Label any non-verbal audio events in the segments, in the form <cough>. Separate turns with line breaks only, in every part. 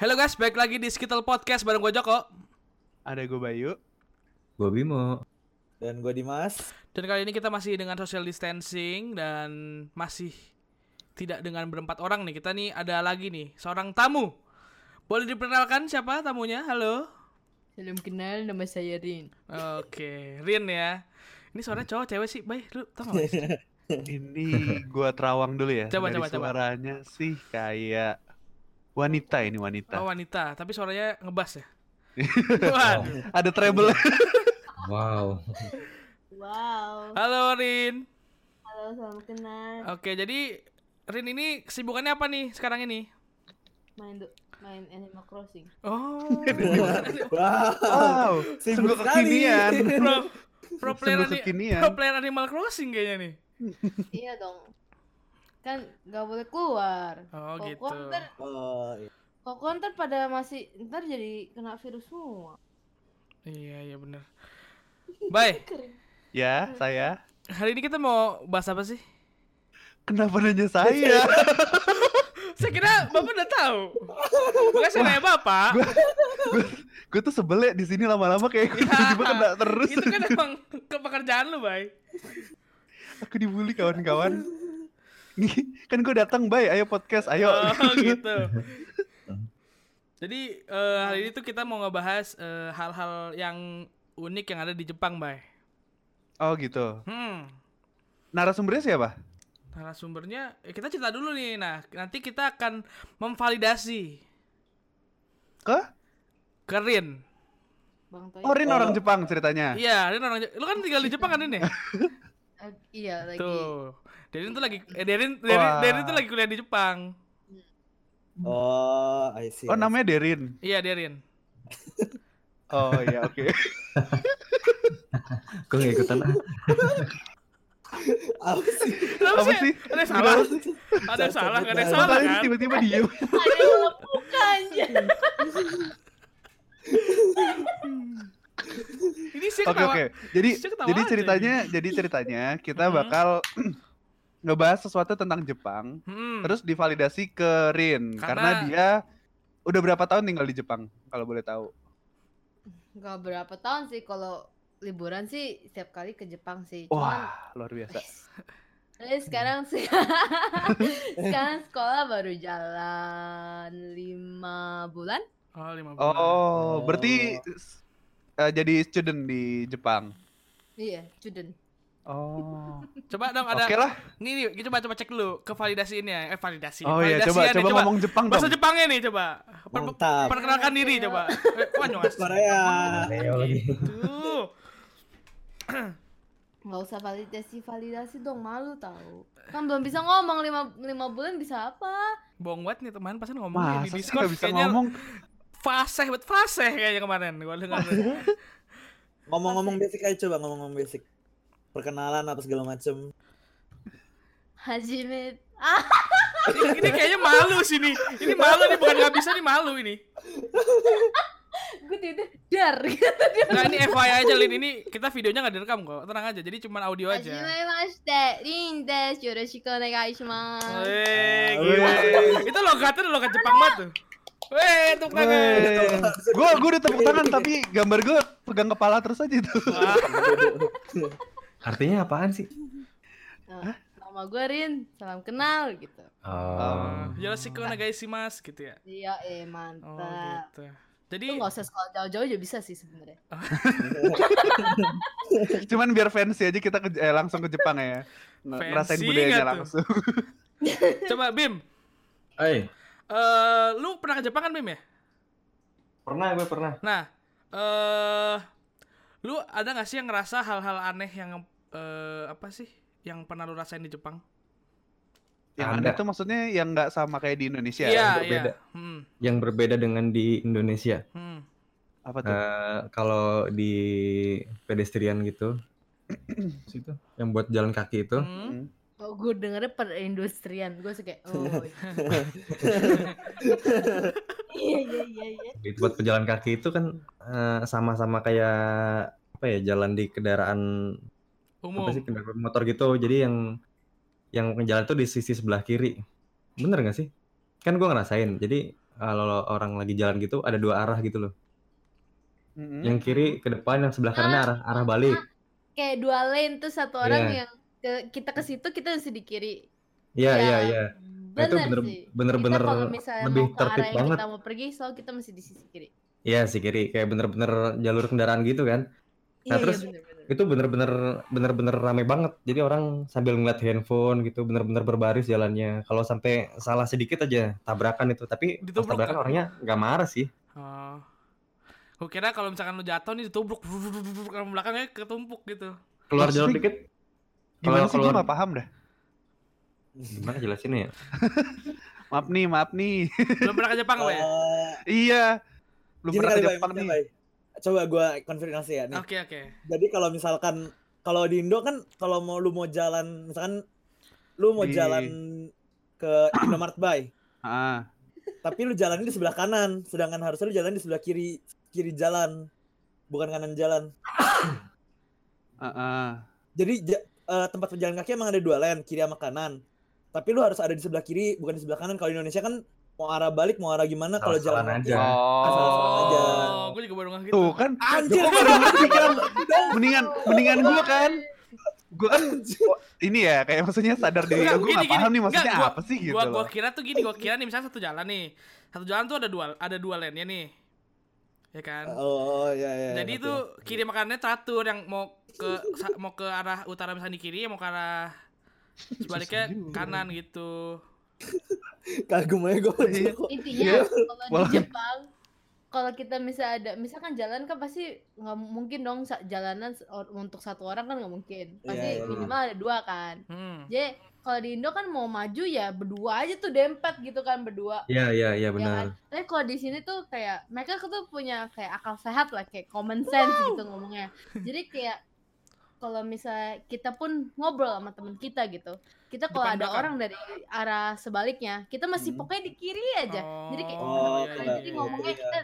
Halo guys, balik lagi di Skittles Podcast bareng gue Joko.
Ada gue Bayu.
Gue Bimo.
Dan gue Dimas.
Dan kali ini kita masih dengan social distancing dan masih tidak dengan berempat orang nih. Kita nih ada lagi nih seorang tamu. Boleh diperkenalkan siapa tamunya? Halo.
Belum kenal nama saya Rin.
Oke, <laughs> Rin ya. Ini suaranya cowok cewek sih, Bay. Lu tau gak? Mas?
Ini gue terawang dulu ya.
Coba,
Dari
coba, coba.
suaranya sih kayak wanita ini wanita.
Oh, wanita, tapi suaranya ngebas ya.
Wow.
Waduh.
Ada treble.
wow.
Wow,
Halo Rin.
halo salam kenal.
Oke, jadi Rin ini kesibukannya apa nih sekarang ini?
Main du- main Animal
<laughs>
Crossing.
Oh,
Wow.
wow. Sungguh
Sibuk
<laughs>
kekinian.
pro, pro player
Sungguh
ani-
kekinian.
pro player Animal Crossing kayaknya nih.
iya dong. Kan nggak boleh keluar.
Oh,
Kalau
gitu.
keluar ntar-
Oh, iya.
kalau keluar ntar pada masih ntar jadi kena virus semua.
Iya, iya benar. Baik,
ya, saya.
hari ini kita mau bahas apa sih?
Kenapa nanya saya?
<laughs> Saya kira Bapak udah tahu. Bukan saya nanya Bapak.
gue tuh sebelek di sini lama-lama kayak gue tiba-tiba kena terus.
Ya, Itu kan emang ke pekerjaan lu, Bay.
Aku dibully kawan-kawan. <laughs> Nih, kan gue datang, Bay. Ayo podcast, ayo.
Oh, <laughs> gitu. Jadi eh, hari ini tuh kita mau ngebahas eh, hal-hal yang unik yang ada di Jepang, Bay.
<laughs> oh, gitu.
Hmm.
Narasumbernya siapa?
Narasumbernya eh, kita cerita dulu nih. Nah, nanti kita akan memvalidasi
Ke?
Kerin.
Bang Toy.
Oh, Rin
Oh.
orang Jepang ceritanya.
Iya, Rin orang Je- Lu kan tinggal di Jepang kan ini?
Eh,
Ah, iya lagi.
<laughs>
Tuh. Derin tuh lagi eh, Derin Derin,
Wah.
Derin tuh lagi kuliah di Jepang.
Oh, I see.
Oh, namanya Derin.
Iya, Derin.
Oh iya oke.
<laughs>
Gue gak ikutan ah.
Apa
<laughs>
sih?
Kenapa
Apa
sih?
sih?
Ada yang
Kenapa
salah.
sih?
Ada yang salah, nggak ada yang salah
Makanya
kan?
tiba-tiba diem.
Ada yang buka aja.
Ini sih
Oke
ketawa.
oke. Jadi
Saya ketawa
jadi
aja
ceritanya jadi ceritanya kita
Mhm.
bakal <clears throat> ngebahas sesuatu tentang Jepang,
Hmm.
terus divalidasi ke Rin karena...
Karena-
dia udah berapa tahun tinggal di Jepang kalau boleh tahu.
Gak berapa tahun sih kalau liburan sih setiap kali ke Jepang sih. Cuman,
Wah luar biasa.
eh, sekarang
<laughs>
sih sekarang sekolah baru jalan lima bulan.
Oh, lima bulan.
Oh berarti eh, jadi student di Jepang.
Iya, student.
Oh
Coba dong ada
oke lah.
nih, nih, kita coba coba cek dulu ke validasiinnya. Eh, validasi.
Oh iya
Validasian
coba
nih,
coba ngomong Jepang
bahasa
dong.
Jepangnya nih coba. Per-
Mantap.
Perkenalkan diri coba. Eh, wanyong
Korea.
Gitu.
Gak usah validasi validasi dong malu tahu. Kan belum bisa ngomong lima, lima bulan bisa apa?
Bohong banget nih teman pasti ngomong
Masa
di
sih
Discord
nggak bisa
kayaknya
ngomong?
fasih buat fasih kayaknya kemarin gua dengar.
Ngomong-ngomong basic aja coba ngomong-ngomong basic. Perkenalan apa segala
<laughs>
macem.
Hajime. Ah,
ini, ini kayaknya malu sih nih. Ini malu nih bukan nggak bisa nih malu ini.
gue tidur dar.
Nah ini FYI aja Lin ini kita videonya nggak direkam kok. Tenang aja. Jadi cuman audio aja.
Hajime mashite, Rin desu. Yoroshiku onegaishimasu.
Weh,
Ah,
gila.
weh.
Itu logatnya udah logat Jepang banget tuh. Weh, tepuk tangan.
Gue gue udah tepuk tangan tapi gambar gue pegang kepala terus aja itu.
Wah,
Artinya apaan sih?
Nah, nama gue Rin, salam kenal gitu.
Oh.
Yoroshiku mas gitu ya.
Iya, eh
Oh,
mantap.
gitu. Jadi
Lu nggak usah sekolah jauh-jauh aja bisa sih sebenarnya.
Cuman biar fancy aja kita ke- eh, langsung ke Jepang ya. Nge-
Fancy
Ngerasain
nggak
budayanya
tuh?
langsung.
coba Bim,
Eh,
eh lu pernah ke Jepang kan Bim ya?
pernah gue pernah.
Nah, eh lu ada nggak sih yang ngerasa hal-hal aneh yang eh apa sih yang pernah lu rasain di Jepang?
Yang
Ada.
ada tuh maksudnya yang nggak sama kayak di
Ya,
Indonesia.
berbeda.
Iya, Hmm,
Yang berbeda dengan di Indonesia.
hmm.
Apa tuh?
Eh, kalau di pedestrian gitu, situ yang buat jalan kaki itu,
hmm.
Hmm.
Oh, gue dengernya perindustrian. Gue suka. Oh,
Iya iya iya iya.
di buat pejalan kaki itu kan eh, sama-sama kayak apa ya jalan di kendaraan
Umum.
apa sih kendaraan motor gitu jadi yang yang jalan tuh di sisi sebelah kiri bener nggak sih kan gue ngerasain jadi kalau orang lagi jalan gitu ada dua arah gitu loh.
Mm-mm.
Hmm.
Yang kiri ke depan, yang sebelah kanan
Ah,
arah arah balik.
Nah, kayak dua lane tuh satu orang
Iya.
yang ke, kita ke situ kita mesti di kiri. Iya.
Iya iya iya. Nah, itu bener
sih.
bener-bener
Kita kalau misalnya
lebih
mau ke arah
tertib
yang
banget.
Kita mau pergi selalu kita mesti di sisi kiri.
Iya sih kiri kayak bener-bener jalur kendaraan gitu kan.
Iya,
Nah, terus
bener-bener.
itu bener-bener bener-bener rame banget jadi orang sambil ngeliat handphone gitu bener-bener berbaris jalannya kalau sampai salah sedikit aja tabrakan itu tapi pas
Ditubruk kan?
tabrakan orangnya nggak marah sih
Oh. Gue kira kalau misalkan lu jatuh nih ditubruk ke belakangnya ketumpuk gitu.
keluar jalur
Maksudnya-
dikit
Gimana
Kalau-
sih gue
kalau-
gak paham dah.
gimana jelasinnya ya
Maaf nih, maaf nih. <laughs>
Belum pernah ke Jepang lo ya?
Eh,
iya. Belum
gini
pernah ke
kali, Bay,
Jepang
maksudnya,
nih.
Bay. Coba gua konfirmasi ya nih.
Oke oke.
Jadi kalau misalkan kalau di Indo kan kalau mau lu mau jalan misalkan lu mau
Di-
jalan ke Indomaret Bay,
Ah,
tapi lu jalannya di sebelah kanan, sedangkan harusnya lu jalan di sebelah kiri kiri jalan, bukan kanan jalan.
ah, ah.
Jadi ja- eh, tempat pejalan kaki emang ada dua lane, kiri sama kanan. Tapi lu harus ada di sebelah kiri, bukan di sebelah kanan. Kalau di Indonesia kan mau arah balik, mau arah gimana kalau jalan
Salah-salahan
kaki. kan.
aja.
Asal-asalan aja.
Oh, gue juga baru ngeh gitu.
Tuh kan,
Anjir,
Loh, kok
gua
baru
udah ngerti
<laughs>
kan?
mendingan mendingan gue kan. Gue kan oh, ini ya kayak maksudnya sadar diri
Enggak,
gue
gini,
gak paham
gini.
nih maksudnya
Enggak,
apa sih gitu
gua gua
loh.
kira tuh gini, gua kira nih misalnya satu jalan nih. Satu jalan tuh ada dua ada dua lane nya nih. Ya kan?
Oh, ya ya.
Jadi itu kiri makanannya teratur yang mau ke sa- mau ke arah utara misalnya di kiri, yang mau ke
<laughs>
arah sebaliknya
juga.
kanan gitu.
kagum aja gue.
Iya.
Intinya kalau
Walau-
di Jepang kalau kita misal ada misalkan jalan kan pasti nggak mungkin dong sa- jalanan se- or- untuk satu orang kan nggak mungkin pasti
Iya, iya.
minimal ada dua kan
Hmm.
jadi kalau di Indo kan mau maju ya berdua aja tuh dempet gitu kan berdua
iya iya
ya
iya
kan?
benar
tapi kalau di sini tuh kayak mereka tuh punya kayak akal sehat lah kayak common sense gitu ngomongnya jadi kayak kalau misalnya kita pun ngobrol sama temen kita gitu kita kalau
Depan
ada
belakang.
orang dari arah sebaliknya kita masih
Hmm.
pokoknya di kiri aja jadi kayak
Oh,
iya,
Nah,
iya,
jadi
iya.
ngomongnya
iya.
kita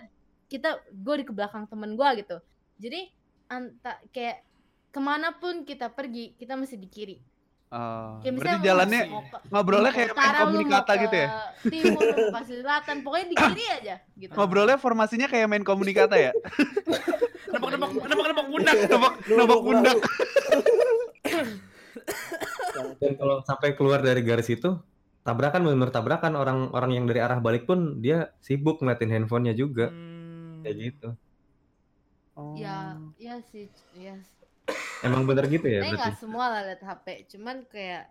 kita gue di ke belakang temen gue gitu jadi anta kayak kemanapun kita pergi kita mesti di kiri
Oh,
kayak
berarti
lu
jalannya
mau ke-
ngobrolnya
mau ke
kayak main
utara, Iya, lu mau
komunikata
ke
gitu ya.
timur lu mau ke selatan pokoknya di kiri aja gitu
Ngobrolnya formasinya kayak main komunikata
<laughs>
ya.
Nebak-nebak nebak-nebak pundak.
Nobok nobok pundak.
dan kalau sampai keluar dari garis itu tabrakan benar-benar tabrakan orang-orang yang dari arah balik pun dia sibuk ngeliatin handphonenya juga
Hmm.
kayak gitu
Oh.
ya ya sih ya sih.
emang bener gitu ya
tapi
berarti
nggak semua lah liat HP cuman kayak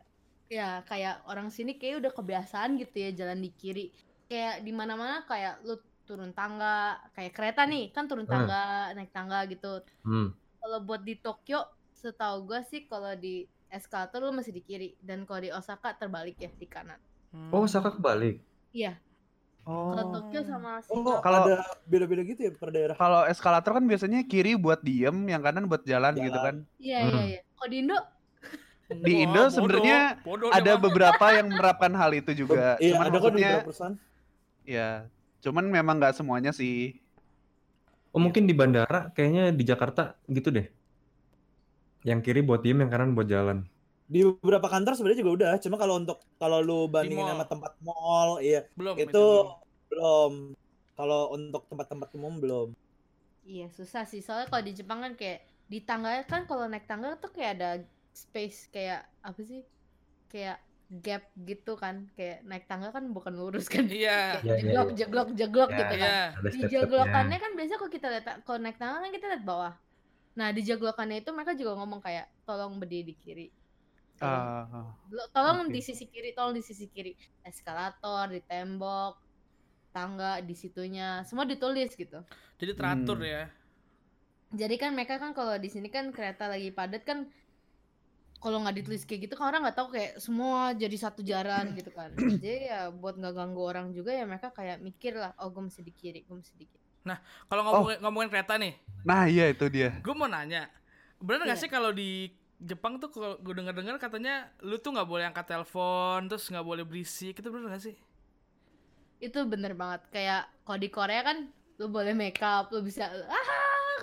ya kayak orang sini kayak udah kebiasaan gitu ya jalan di kiri kayak di mana mana kayak lu turun tangga kayak kereta nih kan turun
Hmm.
tangga naik tangga gitu
hmm.
kalau buat di Tokyo setahu gue sih kalau di eskalator lu masih di kiri dan kalau di Osaka terbalik ya di kanan
Hmm.
oh Saka kebalik
kalau
Oh.
Tokyo sama
Oh,
Singapura
Kalau-
kalau ada beda-beda gitu ya per daerah.
Kalau eskalator kan biasanya kiri buat diem, yang kanan buat jalan, gitu kan.
iya
Hmm.
iya iya kalau di Indo
di
Wah,
Indo
bodoh.
sebenarnya
Bodoh dia
Ada
mah.
beberapa yang menerapkan hal itu juga.
Iya,
cuman
ada kok di
maksudnya,
beberapa perusahaan.
ya, cuman memang nggak semuanya sih.
Oh mungkin di bandara kayaknya di Jakarta gitu deh. Yang kiri buat diem, yang kanan buat jalan.
Di beberapa kantor sebenarnya juga udah, cuma kalau untuk kalau lu bandingin
mall.
sama tempat mall, iya,
belum
itu,
belum.
belum. Kalau untuk tempat-tempat umum belum.
iya susah sih soalnya kalau di Jepang kan kayak di tangga kan kalau naik tangga tuh kayak ada space kayak apa sih kayak gap gitu kan kayak naik tangga kan bukan lurus kan
Iya.
<laughs> Kayak
Iya, iya,
jeglok
iya.
jeglok jeglok gitu kan
Iya.
Ada
di jaglokannya kan biasa kalau kita lihat kalau naik tangga kan kita lihat bawah nah di jaglokannya itu mereka juga ngomong kayak tolong berdiri di kiri tolong,
Ah,
lo- tolong
oke.
di sisi kiri tolong di sisi kiri eskalator di tembok tangga di situnya semua ditulis gitu
Jadi teratur
Hmm.
ya.
jadi kan mereka kan kalau di sini kan kereta lagi padat kan kalau nggak ditulis kayak gitu kan orang nggak tahu kayak semua jadi satu jalan gitu kan jadi ya buat nggak ganggu orang juga ya mereka kayak mikir lah oh gue mesti di kiri gue mesti di kiri
Kalau ngomongin, ngomongin kereta nih,
nah iya itu dia.
gue mau nanya, bener nggak
Iya.
sih kalau di Jepang tuh kalau gue denger-dengar katanya lu tuh nggak boleh angkat telepon, terus nggak boleh berisik, itu bener nggak sih?
itu bener banget kayak kalau di Korea kan lu boleh make up lu bisa ah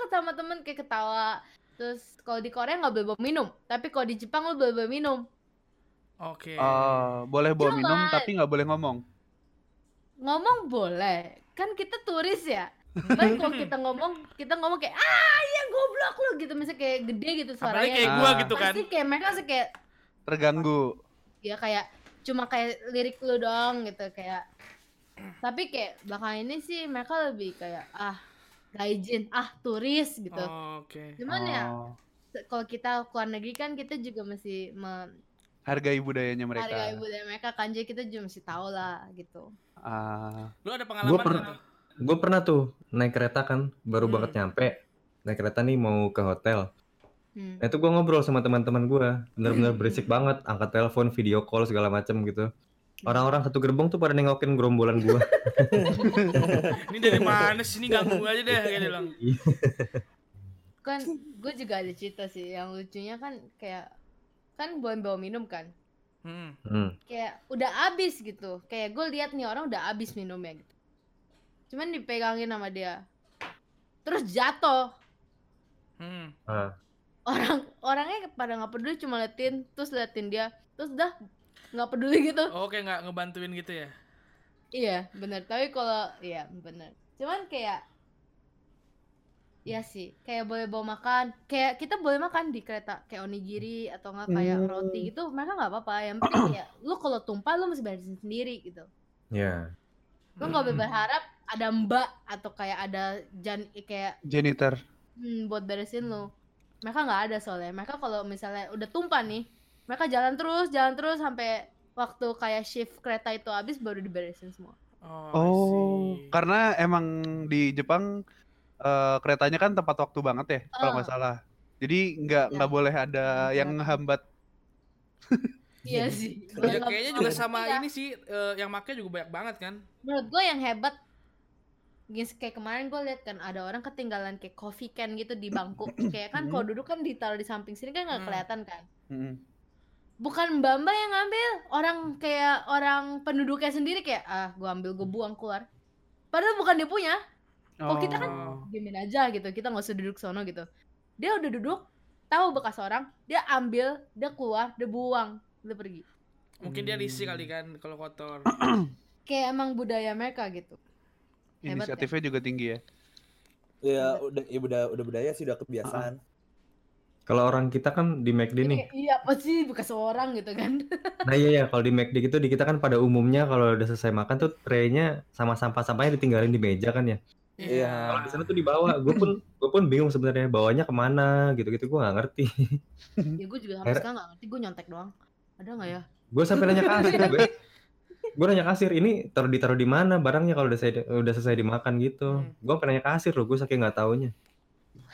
ketawa sama temen kayak ketawa terus kalau di Korea nggak boleh bawa minum tapi kalau di Jepang lu boleh bawa minum
Oke.
Ah, boleh bawa minum
Jalan.
tapi nggak boleh ngomong.
ngomong boleh kan kita turis ya Cuman
<laughs>
kalau kita ngomong kita ngomong kayak ah ya goblok lu gitu misalnya kayak gede gitu
Apalagi
suaranya
kayak gua
Ah.
gitu kan.
pasti kayak mereka pasti kayak
terganggu
ya kayak cuma kayak lirik lu doang gitu kayak tapi kayak belakangan ini sih mereka lebih kayak ah gak izin ah turis gitu
Oh, Oke.
cuman ya
Oh,
se- kalau kita keluar negeri kan kita juga masih
hargai
menghargai
budayanya mereka
budaya mereka kan jadi kita juga masih tahu lah gitu
Ah,
Lu ada
Gua
pengalaman?
pernah
nggak?
gue pernah tuh naik kereta kan baru
Hmm.
banget nyampe naik kereta nih mau ke hotel
Hmm.
nah itu gue ngobrol sama teman-teman gue bener-bener berisik banget angkat telepon video call segala macem gitu orang-orang satu gerbong tuh pada nengokin gerombolan gue
Ini dari mana sih ini ganggu aja deh kayak dia bilang.
kan gue juga ada cerita sih yang lucunya kan kayak kan boleh bawa minum kan
Hmm.
hmm.
kayak udah abis gitu kayak gue lihat nih orang udah abis minumnya gitu cuman dipegangin sama dia terus jatuh
Hmm.
orang orangnya pada nggak peduli cuma liatin terus liatin dia terus dah nggak peduli gitu
Oke, nggak ngebantuin gitu ya.
iya bener tapi kalau iya bener cuman kayak Iya sih, kayak boleh bawa makan, kayak kita boleh makan di kereta, kayak onigiri atau nggak kayak
Hmm.
roti gitu, mereka nggak apa-apa. Yang penting ya, lu kalau tumpah lu mesti beresin sendiri gitu.
ya
Lu nggak boleh
Hmm.
berharap ada mbak atau kayak ada jan kayak
janitor
hmm, buat beresin lu. Mereka nggak ada soalnya. Mereka kalau misalnya udah tumpah nih, mereka jalan terus, jalan terus sampai waktu kayak shift kereta itu habis baru diberesin semua.
Oh. I
oh
see.
karena emang di Jepang eh, keretanya kan tempat waktu banget ya kalau
Ah.
nggak salah jadi nggak
Ya.
nggak boleh ada
Ya.
yang menghambat
Iya sih.
Ya, kayaknya juga sama
Iya.
ini sih eh, yang make juga banyak banget kan.
Menurut gue yang hebat Gini, kayak kemarin gue lihat kan ada orang ketinggalan kayak coffee can gitu di bangku kayak kan kalau duduk kan ditaruh di samping sini kan nggak
Hmm.
kelihatan kan
Mm.
bukan mbak mbak yang ngambil orang kayak orang penduduknya sendiri kayak ah gua ambil gue buang keluar padahal bukan dia punya Oh, kita kan- diemin aja gitu kita nggak usah duduk sono gitu dia udah duduk tahu bekas orang dia ambil dia keluar dia buang dia pergi
Mungkin dia risih kali kan kalau kotor.
kayak emang budaya mereka gitu hebat ya.
inisiatifnya juga tinggi ya
Iya.
Ya udah ya udah udah budaya sih udah kebiasaan.
kalau orang kita kan di McD nih
Kayak, iya apa sih bekas orang gitu kan <laughs>
nah iya ya kalau di McD gitu di kita kan pada umumnya kalau udah selesai makan tuh traynya sama sampah-sampahnya ditinggalin di meja kan ya
Iya.
kalau di sana tuh dibawa gue pun gue pun bingung sebenarnya bawanya kemana gitu-gitu gue nggak ngerti
ya gue juga sampai
Heran.
sekarang nggak ngerti gue nyontek doang ada nggak ya
gue sampai nanya kasir gue gue nanya kasir ini taruh ditaruh di mana barangnya kalau udah saya udah selesai dimakan gitu
Hmm.
gue pengen nanya kasir loh gue saking nggak taunya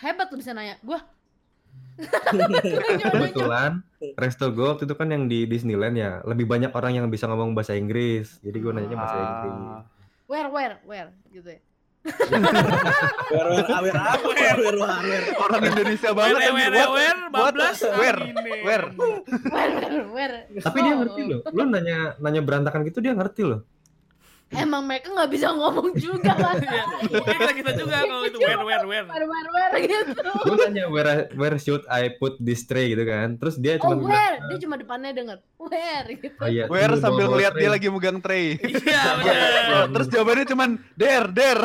hebat tuh bisa nanya gue
Iya.
<laughs>
kebetulan resto gue waktu itu kan yang di Disneyland ya lebih banyak orang yang bisa ngomong bahasa Inggris jadi gue nanya bahasa Inggris
Ah.
where where where gitu ya <laughs>
Wer wer ah, wer apa wer wer wer, wer.
orang Indonesia
Wer
banget kan
wer wer
What? what-
bablas
where,
angin.
where?
where where where
tapi dia ngerti
Oh.
loh lo nanya nanya berantakan gitu dia ngerti loh
emang mereka nggak bisa ngomong
<laughs>
juga lah
Iya.
<laughs>
Mungkin kita kita juga kalau itu wer wer wer.
where where where gitu
gue nanya where where should I put this tray gitu kan terus dia
oh
cuma bilang,
where dia cuma depannya denger where gitu
"Oh iya,
Where
ini bawa-
sambil
bawa
ngeliat
tray."
dia lagi megang
<laughs>
tray.
Iya
Nah,
benar.
Terus jawabannya cuman der
<laughs>
der.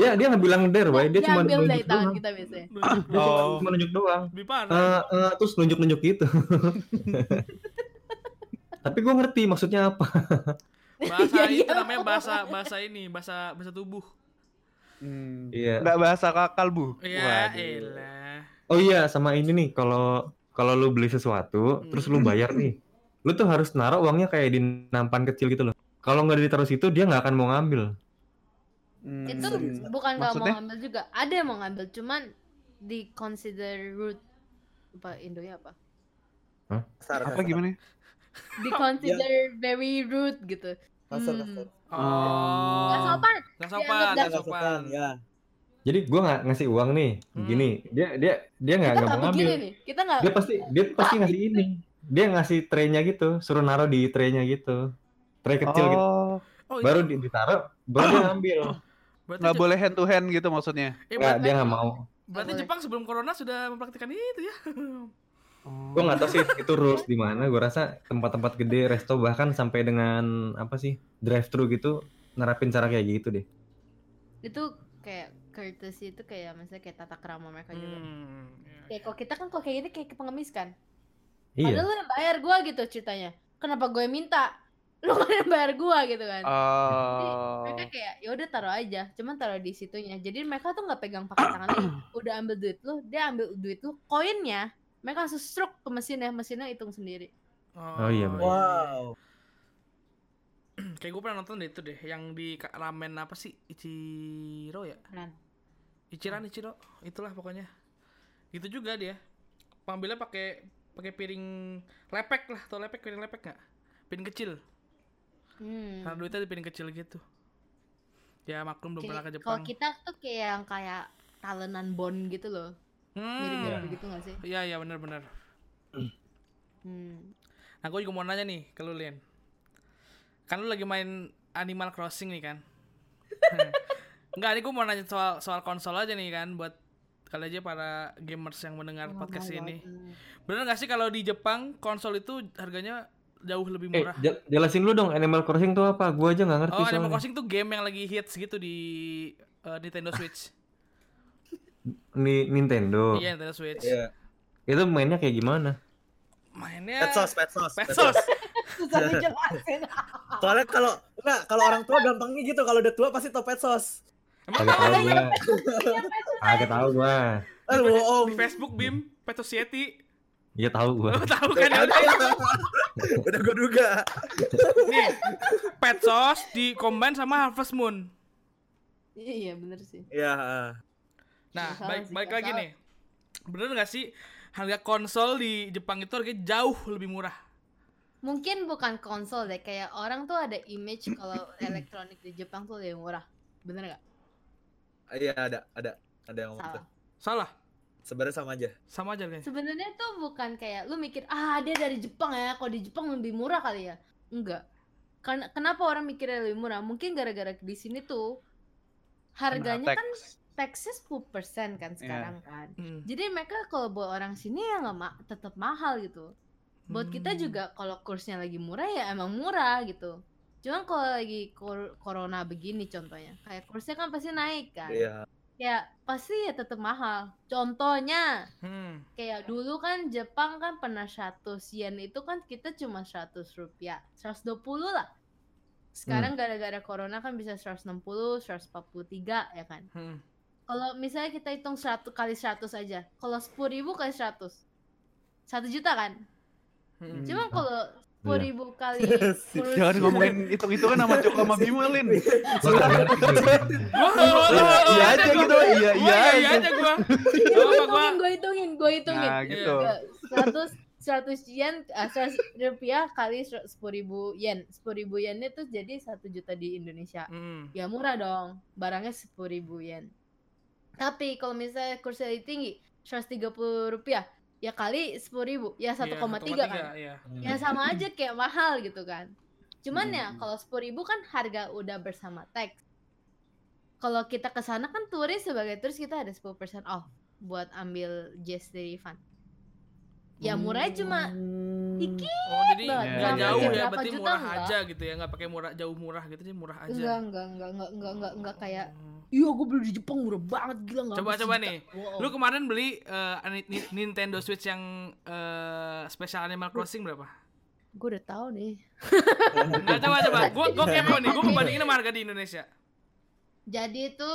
dia dia nggak bilang there why dia
dia
cuma
ambil dari
nunjuk
tangan
doang
kita biasanya
Dia cuma-
Oh.
cuma nunjuk doang
Lebih parah.
Eh, eh, terus nunjuk-nunjuk gitu. <laughs> Tapi gue ngerti maksudnya apa.
Bahasa
Iya,
itu
iya.
namanya bahasa bahasa ini, bahasa bahasa tubuh.
Hmm.
Iya.
Nggak bahasa kakal bu.
Ya
Iya,
Waduh.
elah.
Oh iya, sama ini nih kalau kalau lu beli sesuatu, terus
Hmm.
lu bayar nih. Lu tuh harus naruh uangnya kayak di nampan kecil gitu loh. Kalau nggak ditaruh situ dia nggak akan mau ngambil.
Hmm.
itu bukan nggak mau
Maksudnya?
ngambil juga ada yang mau ngambil cuman di consider rude apa Indonya apa
Kasar,
apa
Iya.
kasar,
gimana? ya?
di consider very rude gitu
Kasar
Hmm.
kasar.
Oh.
nggak sopan Iya,
Nggak
Dianggap
sopan,
nggak
Ya,
nggak
nggak
sopan.
sopan, ya.
Jadi gua nggak ngasih uang nih,
Hmm.
gini. Dia dia dia nggak
kita
nggak
nggak
mau ngambil.
begini nih kita nggak
Dia pasti dia pasti ngasih ini. Dia ngasih traynya gitu, suruh naruh di traynya gitu. Tray kecil gitu.
Oh,
Oh, iya.
Baru di- ditaruh, baru dia
<coughs>
ngambil.
berarti,
nggak
Je-
boleh hand to hand gitu maksudnya.
eh,
Nggak,
berarti-
dia nggak mau.
berarti
boleh.
Jepang sebelum corona sudah mempraktikkan itu ya. <laughs>
Gue nggak tahu sih itu rules di mana. Gue rasa tempat-tempat gede, resto bahkan sampai dengan apa sih drive thru gitu nerapin cara kayak gitu deh.
itu kayak courtesy itu kayak misalnya kayak gitu. tata kerama mereka juga
Hmm.
kayak kalau kita kan kalau kayak gini kayak pengemis kan
Iya.
padahal lu yang bayar gua gitu ceritanya kenapa gue minta lu kan yang bayar gua gitu kan <laughs>
Oh.
mereka kayak ya udah taruh aja cuman taruh di situnya jadi mereka tuh nggak pegang pakai tangan
<coughs>
lagi udah ambil duit lu dia ambil duit lu koinnya mereka langsung stroke ke mesinnya mesinnya hitung sendiri
Oh, iya, bener.
Wow.
hmm. Kayak gue pernah nonton deh itu deh, yang di ka- ramen apa sih Ichiro ya?
Ran.
Ichiran Ichiro, itulah pokoknya. Gitu juga dia. Pengambilnya pakai pakai piring lepek lah, atau lepek piring lepek nggak? Piring kecil.
hmm.
Karena duitnya di piring kecil gitu. Ya maklum belum
Kayak-
pernah ke
kalau
Jepang.
kita tuh kayak yang kayak talenan bond gitu loh mirip-mirip
Hmm.
gitu gak sih
Iya iya benar-benar.
hmm.
Nah gue juga mau nanya nih ke lu Lin. Kan lu lagi main Animal Crossing nih kan? Enggak, ini gue mau nanya soal soal konsol aja nih kan buat kali aja para gamers yang mendengar
Oh
podcast
my
ini.
God.
Bener gak sih kalau di Jepang konsol itu harganya jauh lebih
Eh,
murah?
jel- jelasin dulu dong Animal Crossing tuh apa? Gue aja nggak
oh,
ngerti
Animal
soalnya.
Crossing tuh game yang lagi hits gitu di eh, Nintendo Switch.
Ni- Nintendo.
Iya, Nintendo Switch.
Iya.
Itu mainnya kayak
Eh,
gimana?
Mainnya
Pet sauce, pet sauce. pet
Pesos.
sauce.
susah
<laughs>
dijelasin
Soalnya kalau enggak kalau orang tua gampangnya gitu kalau udah tua pasti tau pet sauce.
Emang
Agak tahu
tahu
gue.
Iya,
Agak tahu gue.
Eh
oh,
bohong.
di Facebook Bim, Petos Yeti.
Iya tahu gue.
Lo tahu kan? ya?
<laughs> Udah gue duga.
Nih, Petos di combine sama Harvest Moon.
iya bener sih
Iya.
Nah,
Nggak salah
baik
sih,
baik
nggak
lagi
salah.
nih. Bener gak sih harga konsol di Jepang itu harganya jauh lebih murah?
mungkin bukan konsol deh kayak orang tuh ada image kalau
<clears throat>
elektronik di Jepang tuh lebih murah bener gak
Iya ada ada ada yang ngomong
salah
tuh.
Salah,
Sebenarnya sama aja.
sama aja kayaknya.
sebenarnya tuh bukan kayak lu mikir ah dia dari Jepang ya kalau di Jepang lebih murah kali ya enggak karena kenapa orang mikirnya lebih murah mungkin gara-gara di sini tuh
Kena
harganya kan teksnya 10% kan sekarang kan
Hmm.
jadi mereka kalau buat orang sini ya nggak ma- tetap mahal gitu buat kita
Hmm.
juga kalau kursnya lagi murah ya emang murah gitu cuman kalau lagi kor- corona begini contohnya kayak kursnya kan pasti naik kan
Iya.
ya pasti ya tetap mahal contohnya
Hmm.
kayak dulu kan Jepang kan pernah 100 yen itu kan kita cuma 100 rupiah 120 lah sekarang gara-gara corona kan bisa 160 143 ya kan
Hmm.
kalau misalnya kita hitung 100 kali 100 aja kalau 10.000 kali 100 1 juta kan
Hmm.
Cuma kalau sepuluh ribu kali kurus- <laughs>
Jangan gitu. ngomongin hitung-hitungan sama Joko sama Bimo, Lin.
Wah, wah, wah,
Iya
wah,
iya
wah,
aja
aja
gitu,
gua.
iya
Wah,
iya
iya
aja.
aja gua.
Gua
Gak apa gua.
hitungin, gue hitungin, gue hitungin.
Nah gitu.
Ya, 100 100 yen, ah, 100 rupiah kali sepuluh ribu yen, sepuluh ribu yennya tuh jadi satu juta di Indonesia.
Hmm.
Ya murah dong, barangnya sepuluh ribu yen. Tapi kalau misalnya kursnya lebih tinggi, 130 rupiah, ya kali sepuluh ribu, ya 1,3 kan.
Iya.
ya sama aja kayak mahal gitu kan cuman ya
Hmm.
kalau sepuluh ribu kan harga udah bersama tax kalau kita ke sana kan turis sebagai turis kita ada 10% off buat ambil GST refund ya murahnya cuma dikit
Oh, jadi
banget.
nggak
Iya,
jauh
iya.
ya,
Berapa
berarti
juta
murah
nggak?
aja gitu ya, nggak pakai murah jauh murah gitu, jadi murah aja.
enggak enggak enggak enggak enggak enggak enggak kayak
Hmm.
iya gue beli di Jepang murah banget gila enggak
Coba,
habis
coba
sejuta."
nih.
Wow.
Lu kemarin beli eh, Ni- Ni- Nintendo Switch yang eh, Special Animal Crossing berapa?
gue udah tahu nih
Nggak, coba coba. Gua gua kepo nih, gua ngebandingin sama harga di Indonesia.
jadi itu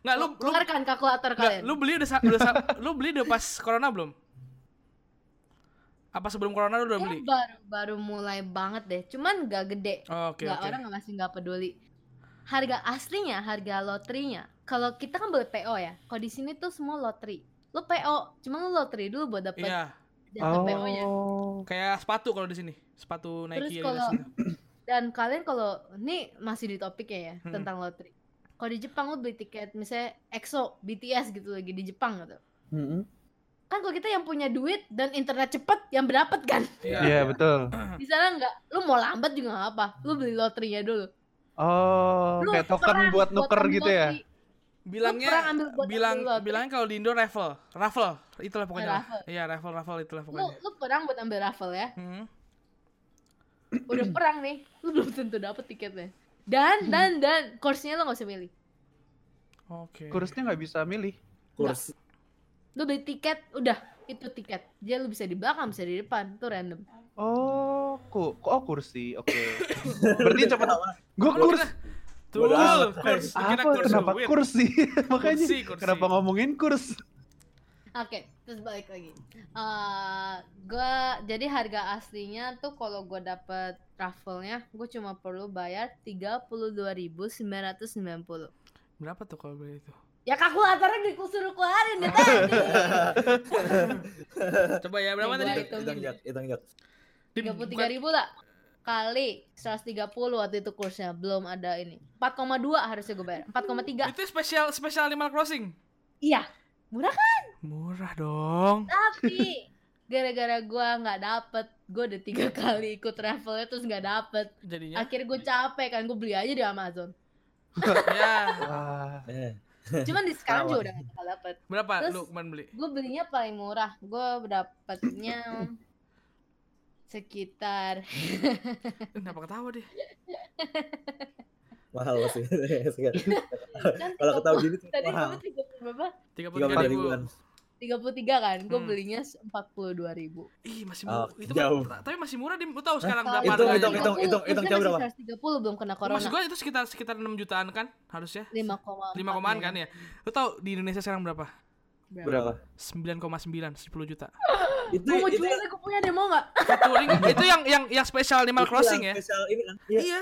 Nggak lu lu
keluarkan kalkulator
nggak,
kalian
lu beli udah sa- udah sa- lu beli udah pas corona belum? Apa sebelum corona lu udah
Ya,
beli?
baru baru mulai banget deh cuman gak gede
Oke,
nggak
oke.
orang masih nggak peduli harga aslinya harga loterinya kalau kita kan boleh PO ya kalau di sini tuh semua loteri lu PO cuma lu loteri dulu buat dapet
Iya,
data
Oh.
PO nya
kayak sepatu kalau di sini. Sepatu
Terus
Nike
kalau-
gitu.
dan kalian kalau ini masih di topiknya ya
Hmm.
tentang loteri kalau di Jepang lu beli tiket misalnya EXO BTS gitu lagi di Jepang gitu
Mm-mm.
kan kalau kita yang punya duit dan internet cepet yang berdapat kan
Iya betul.
Hmm.
di sana nggak lu mau lambat juga nggak apa lu beli loterinya dulu
Oh,
Lu
kayak token
tukeran
buat nuker
ambil
gitu ya.
loteri. kurang
bilangnya
ambil buat
bilang
ambil lot.
bilangnya kalau di Indo raffle, raffle itulah pokoknya. lah.
raffle.
Iya raffle raffle itulah
lu
pokoknya.
lu perang buat ambil raffle ya
Hmm.
<clears throat> udah perang nih lu belum tentu dapet tiketnya dan dan dan course-nya lu gak usah milih
Oke.
Kurusnya nggak bisa milih.
kursi
lu beli tiket udah itu tiket dia lu bisa di belakang bisa di depan itu random
Oh, ku, oh kursi. Oke. Berarti
<laughs>
cepet. Gue
Oh,
kurs.
kita- Tuh,
Bodo amat,
kurs. Kita
Apa? Kenapa
duit.
kursi? <laughs> Makanya
Kursi, kursi.
kenapa ngomongin kurs?
oke terus balik lagi Eh, gua jadi harga aslinya tuh kalau gua dapet raffle-nya gua cuma perlu bayar 32.990
Berapa tuh kalau beli itu?
ya kalkulatornya gue suruh keluarin deh tadi <laughs>
Coba ya berapa
Coba
tadi?
itu.
hitung jak hitung jak
Di-
tiga puluh tiga ribu lah kali 130 waktu itu kursnya belum ada ini 4,2 harusnya gue bayar 4,3
Itu spesial spesial Animal Crossing.
iya
Murah dong.
tapi gara-gara gua nggak dapet gue udah tiga <laughs> kali ikut travelnya terus nggak dapet
Ya.
Jadinya.
akhirnya gue capek kan gue beli aja di
<laughs>
Amazon
ya.
Wah.
Eh,
cuman di sekarang
Ketawa.
juga udah nggak bakal dapet
Berapa
Terus-
lu kemarin beli?
gue belinya paling murah gue dapetnya sekitar
Eh, Kenapa ketawa deh?
mahal sih <laughs>
kan
<laughs> kalau ketahuan
30
gini tuh
tadi
mahal
gue tiga puluh
33
berapa
tiga
ribu.
ribuan
tiga puluh tiga kan gue
Hmm.
belinya empat puluh dua ribu
Ih, masih
Oh,
murah. itu
jauh.
mah- tapi masih murah dim. Lu tahu
Eh,
sekarang berapa
Hitung,
harganya?
hitung, hitung, hitung, hitung, jauh berapa?
Tiga puluh belum kena corona.
Maksud gua itu sekitar sekitar 6 jutaan kan harusnya.
lima koma.
5 komaan kan ya. Lu tahu di Indonesia sekarang berapa?
berapa
9,9 10 juta.
itu
Gue mau
itu
jual deh, gue punya deh mau nggak?
Itu
<laughs>
itu yang yang yang spesial Animal
itu
Crossing ya.
yang spesial ini kan iya
Iya.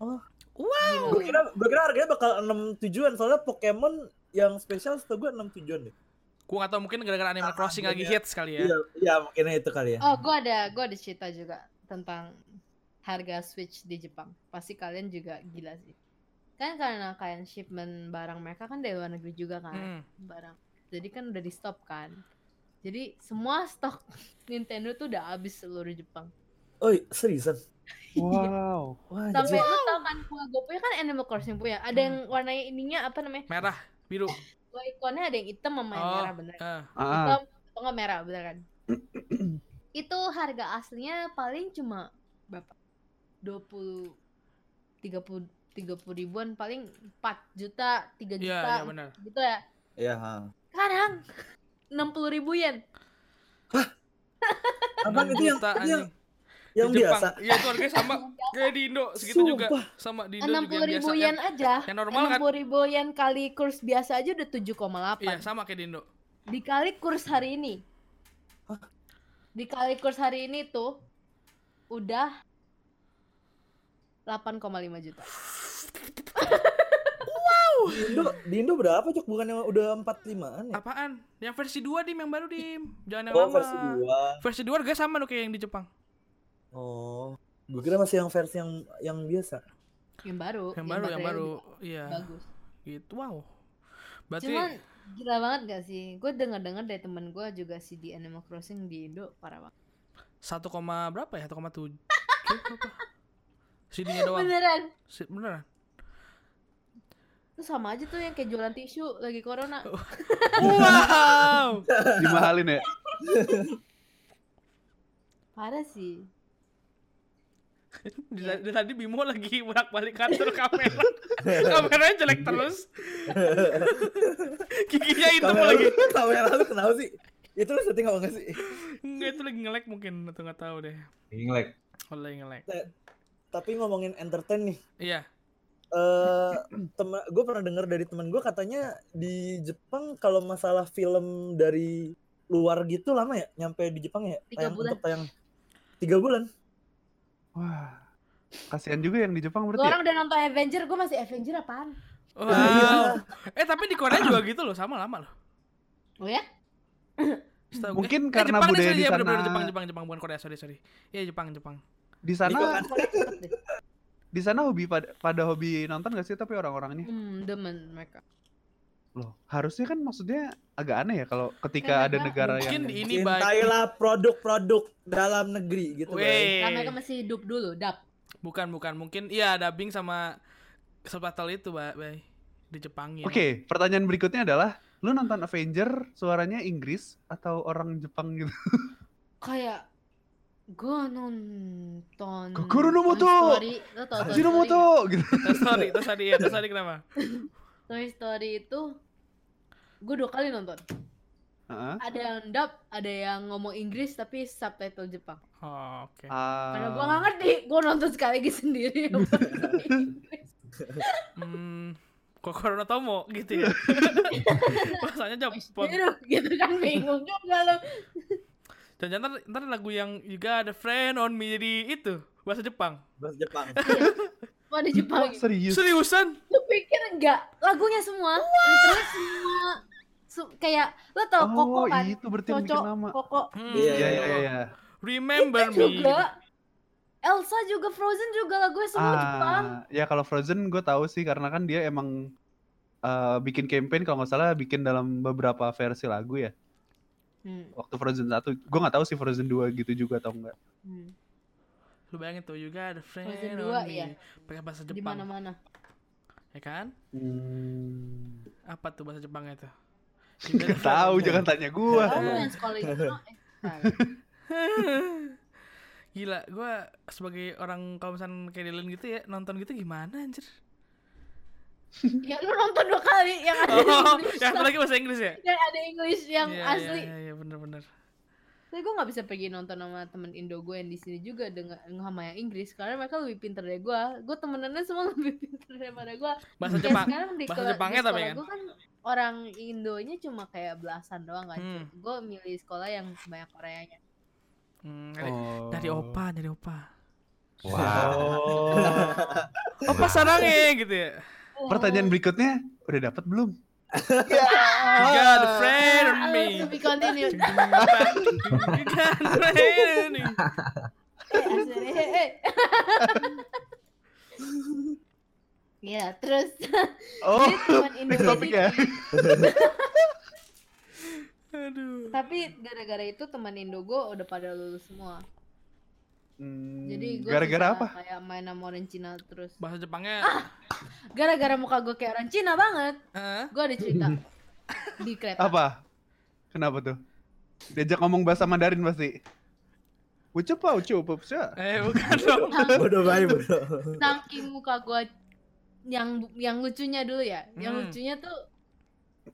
Oh.
Wow.
gue kira gue kira harganya bakal enam tujuan soalnya Pokemon yang spesial setahu gue enam tujuan deh
Gua gak tau mungkin gara-gara Animal
Ah,
Crossing lagi
iya.
hits kali ya.
iya iya mungkin itu kali ya
Oh, gue ada, gue ada cerita juga tentang harga Switch di Jepang. Pasti kalian juga gila sih. Kan karena kalian shipment barang mereka kan dari luar negeri juga kan.
Hmm.
barang. Jadi kan udah di stop kan. Jadi semua stok <laughs> Nintendo tuh udah habis seluruh Jepang.
oh seriusan
Iya. Wow.
wah
<laughs> Sampai
anjir.
lu tau kan gua gua punya kan Animal Crossing punya. Ada yang warnanya ininya apa namanya?
Merah, biru.
Gua ikonnya ada yang hitam sama yang
Oh.
merah bener.
Eh,
Ah,
Atau nggak merah bener kan? <clears throat> Itu harga aslinya paling cuma berapa? 20 30 30 ribuan paling 4 juta,
iya,
3 juta
iya benar.
gitu ya.
ya ha.
Sekarang <laughs> 60 ribu yen.
Apaan
Enam
itu yang
juta,
itu yang
anjing. Di
yang
Jepang.
biasa
Iya, itu harganya
<laughs>
sama kayak di Indo segitu juga.
Sumpah.
Sama di Indo
enam
juga
puluh
yang biasa.
ribu yen
Yang-
aja
Yang normal
enam
kan?
puluh ribu yen kali kurs biasa aja udah 7,8
Iya, sama kayak di Indo.
dikali kurs hari ini dikali kurs hari ini tuh udah 8,5 juta
di Indo di Indo berapa cok bukannya udah empat limaan ya
Apaan? Yang versi 2 Dim, yang baru Dim. Jangan yang
oh
lama.
versi dua
Versi 2 harganya sama loh kayak yang di Jepang.
oh gue kira masih yang versi yang yang biasa
yang
Yang baru,
baru
yang
baterainya
baru.
lebih
Iya.
bagus
Gitu. Wow. Berarti
cuman gila banget gak sih gue denger dengar dari temen gue juga si di Animal Crossing di Indo parah banget
1, koma berapa ya? 1,7 apa? CD-nya doang.
beneran
Si- Beneran.
itu sama aja tuh yang kayak jualan tisu lagi corona
Oh. Wow.
dimahalin ya.
parah sih
Iya.
Dari dari tadi Bimo lagi <laughs> bolak-balik
<laughs>
kantor kamera. Kameranya jelek terus. Giginya itu
kamera
lagi.
lu kamera lu kenapa sih itu lu setting apa nggak sih
Enggak itu lagi nge-lag mungkin atau nggak tahu deh.
Ini nge-lag.
Kalau lagi nge-lag.
tapi ngomongin entertain nih
Iya.
eh temen gue pernah dengar dari teman gue katanya di Jepang kalau masalah film dari luar gitu lama ya nyampe di Jepang ya
Tiga bulan.
untuk tayang tiga bulan
Wah. Kasihan juga yang di Jepang
Lu
berarti. ya?
orang udah nonton Avenger, gue masih Avenger apaan?
Iya.
Wow. Eh tapi di Korea juga gitu loh, sama lama loh.
Oh ya?
<coughs> Setahu gue-
Mungkin
eh,
karena
Jepang deh,
budaya
sorry,
di
ya,
sana.
bener-bener Jepang, Jepang, Jepang bukan Korea, sorry, sorry. Iya Jepang, Jepang.
Di
Niko
sana
kan?
Korea cepet deh.
di sana hobi pada, pada hobi nonton gak sih tapi orang-orangnya?
Hmm, demen mereka.
Loh, harusnya kan maksudnya agak aneh ya kalau ketika ada
Karena
negara
Mungkin
yang
di ini baik.
cintailah produk-produk dalam negeri gitu guys
Weh.
Nah, mereka masih hidup dulu, dap.
Bukan, bukan. Mungkin iya dubbing sama subtitle itu, Bay. Bay. di Jepang ya.
Oke, pertanyaan berikutnya adalah lu nonton Avenger suaranya Inggris atau orang Jepang gitu?
kayak gue nonton
Kokoro no Moto!
Toy Story, lo tau
<laughs>
Toy Story nggak?
Ajinomoto gitu.
Terus sorry, terus tadi ya, terus tadi kenapa?
Toy Story itu gue dua kali nonton
Heeh.
ada yang dub ada yang ngomong Inggris tapi subtitle Jepang
Oh, oke.
Ah.
karena gue nggak ngerti gue nonton sekali lagi <laughs> sendiri
Hmm, Kokoro no Tomo
<laughs>
gitu ya. Bahasanya Jepang.
Biru gitu kan bingung juga lo
Dan ntar, ntar lagu yang juga ada friend on me jadi itu bahasa Jepang.
bahasa Jepang <laughs>
mau di
Wah,
Jepang gitu.
serius.
Seriusan?
lu pikir enggak lagunya semua literally semua Su- kayak lo tau koko
Oh,
kan
itu berarti yang bikin
cocok
nama.
koko
Hmm.
Iya,
Iya, iya, iya.
Remember me.
Itu juga Elsa juga Frozen juga lagunya semua Jepang
Ah, ya kalau Frozen gue tahu sih karena kan dia emang eh, bikin campaign kalau nggak salah bikin dalam beberapa versi lagu ya.
Hmm,
Waktu Frozen 1, gue nggak tahu sih Frozen 2 gitu juga atau enggak.
hmm.
Lu bayangin tuh juga ada friend
Frozen
on
dua,
me.
iya.
Pakai bahasa
di
Jepang. <laughs>
mana-mana
Ya kan?
Hmm.
Apa tuh bahasa Jepangnya
<laughs>
tuh?
Nggak tahu, jangan tanya gue.
Kamu yang sekolah itu no, eh, salah.
<laughs> Gila, gue sebagai orang kalau misalnya kayak Dylan gitu ya, nonton gitu gimana anjir?
ya lu nonton dua kali yang ada
Oh,
English
yang satu lagi bahasa Inggris <laughs> ya?
yang ada English yang
Iya,
asli
Iya, iya, bener-bener.
tapi gue nggak bisa pergi nonton sama temen Indo gue yang di sini juga dengan sama yang Inggris karena mereka lebih pinter dari gue gue temenannya semua <laughs> lebih pinter daripada gue
Bahasa
Kayak
Jepang.
sekarang di
bahasa
kela- di
Jepangnya tapi
sekolah
kan?
Gue kan orang Indonya cuma kayak belasan doang kan.
Hmm.
Gue milih sekolah yang banyak Koreanya.
Hmm, nyari,
Oh. Oh.
nyari opa, nyari opa.
<laughs>
Wow.
<laughs> Opa sarangnya gitu ya.
Pertanyaan berikutnya udah dapat belum?
Oh.
<laughs> You got a friend on me.
Harus to Ah,
<laughs>
be
<laughs>
continued.
You got a friend on me.
Eh, asli, eh, <laughs> eh. Iya, terus
Oh,
Jadi cuman Indo
next topic ya. <laughs>
Aduh.
tapi gara-gara itu teman Indo gue udah pada lulus semua.
Hmm,
Jadi gue
gara-gara apa?
Kayak main sama orang Cina terus.
Bahasa Jepangnya.
Gara-gara muka gue kayak orang Cina banget,
eh,
gue ada
<laughs>
cerita di kereta.
Apa? Kenapa tuh? Diajak ngomong bahasa Mandarin pasti. Ucupa, ucupa, ucupa.
eh
<laughs>
bukan dong.
bodoh banget bodoh
saking muka gue yang yang lucunya dulu ya yang
Hmm.
lucunya tuh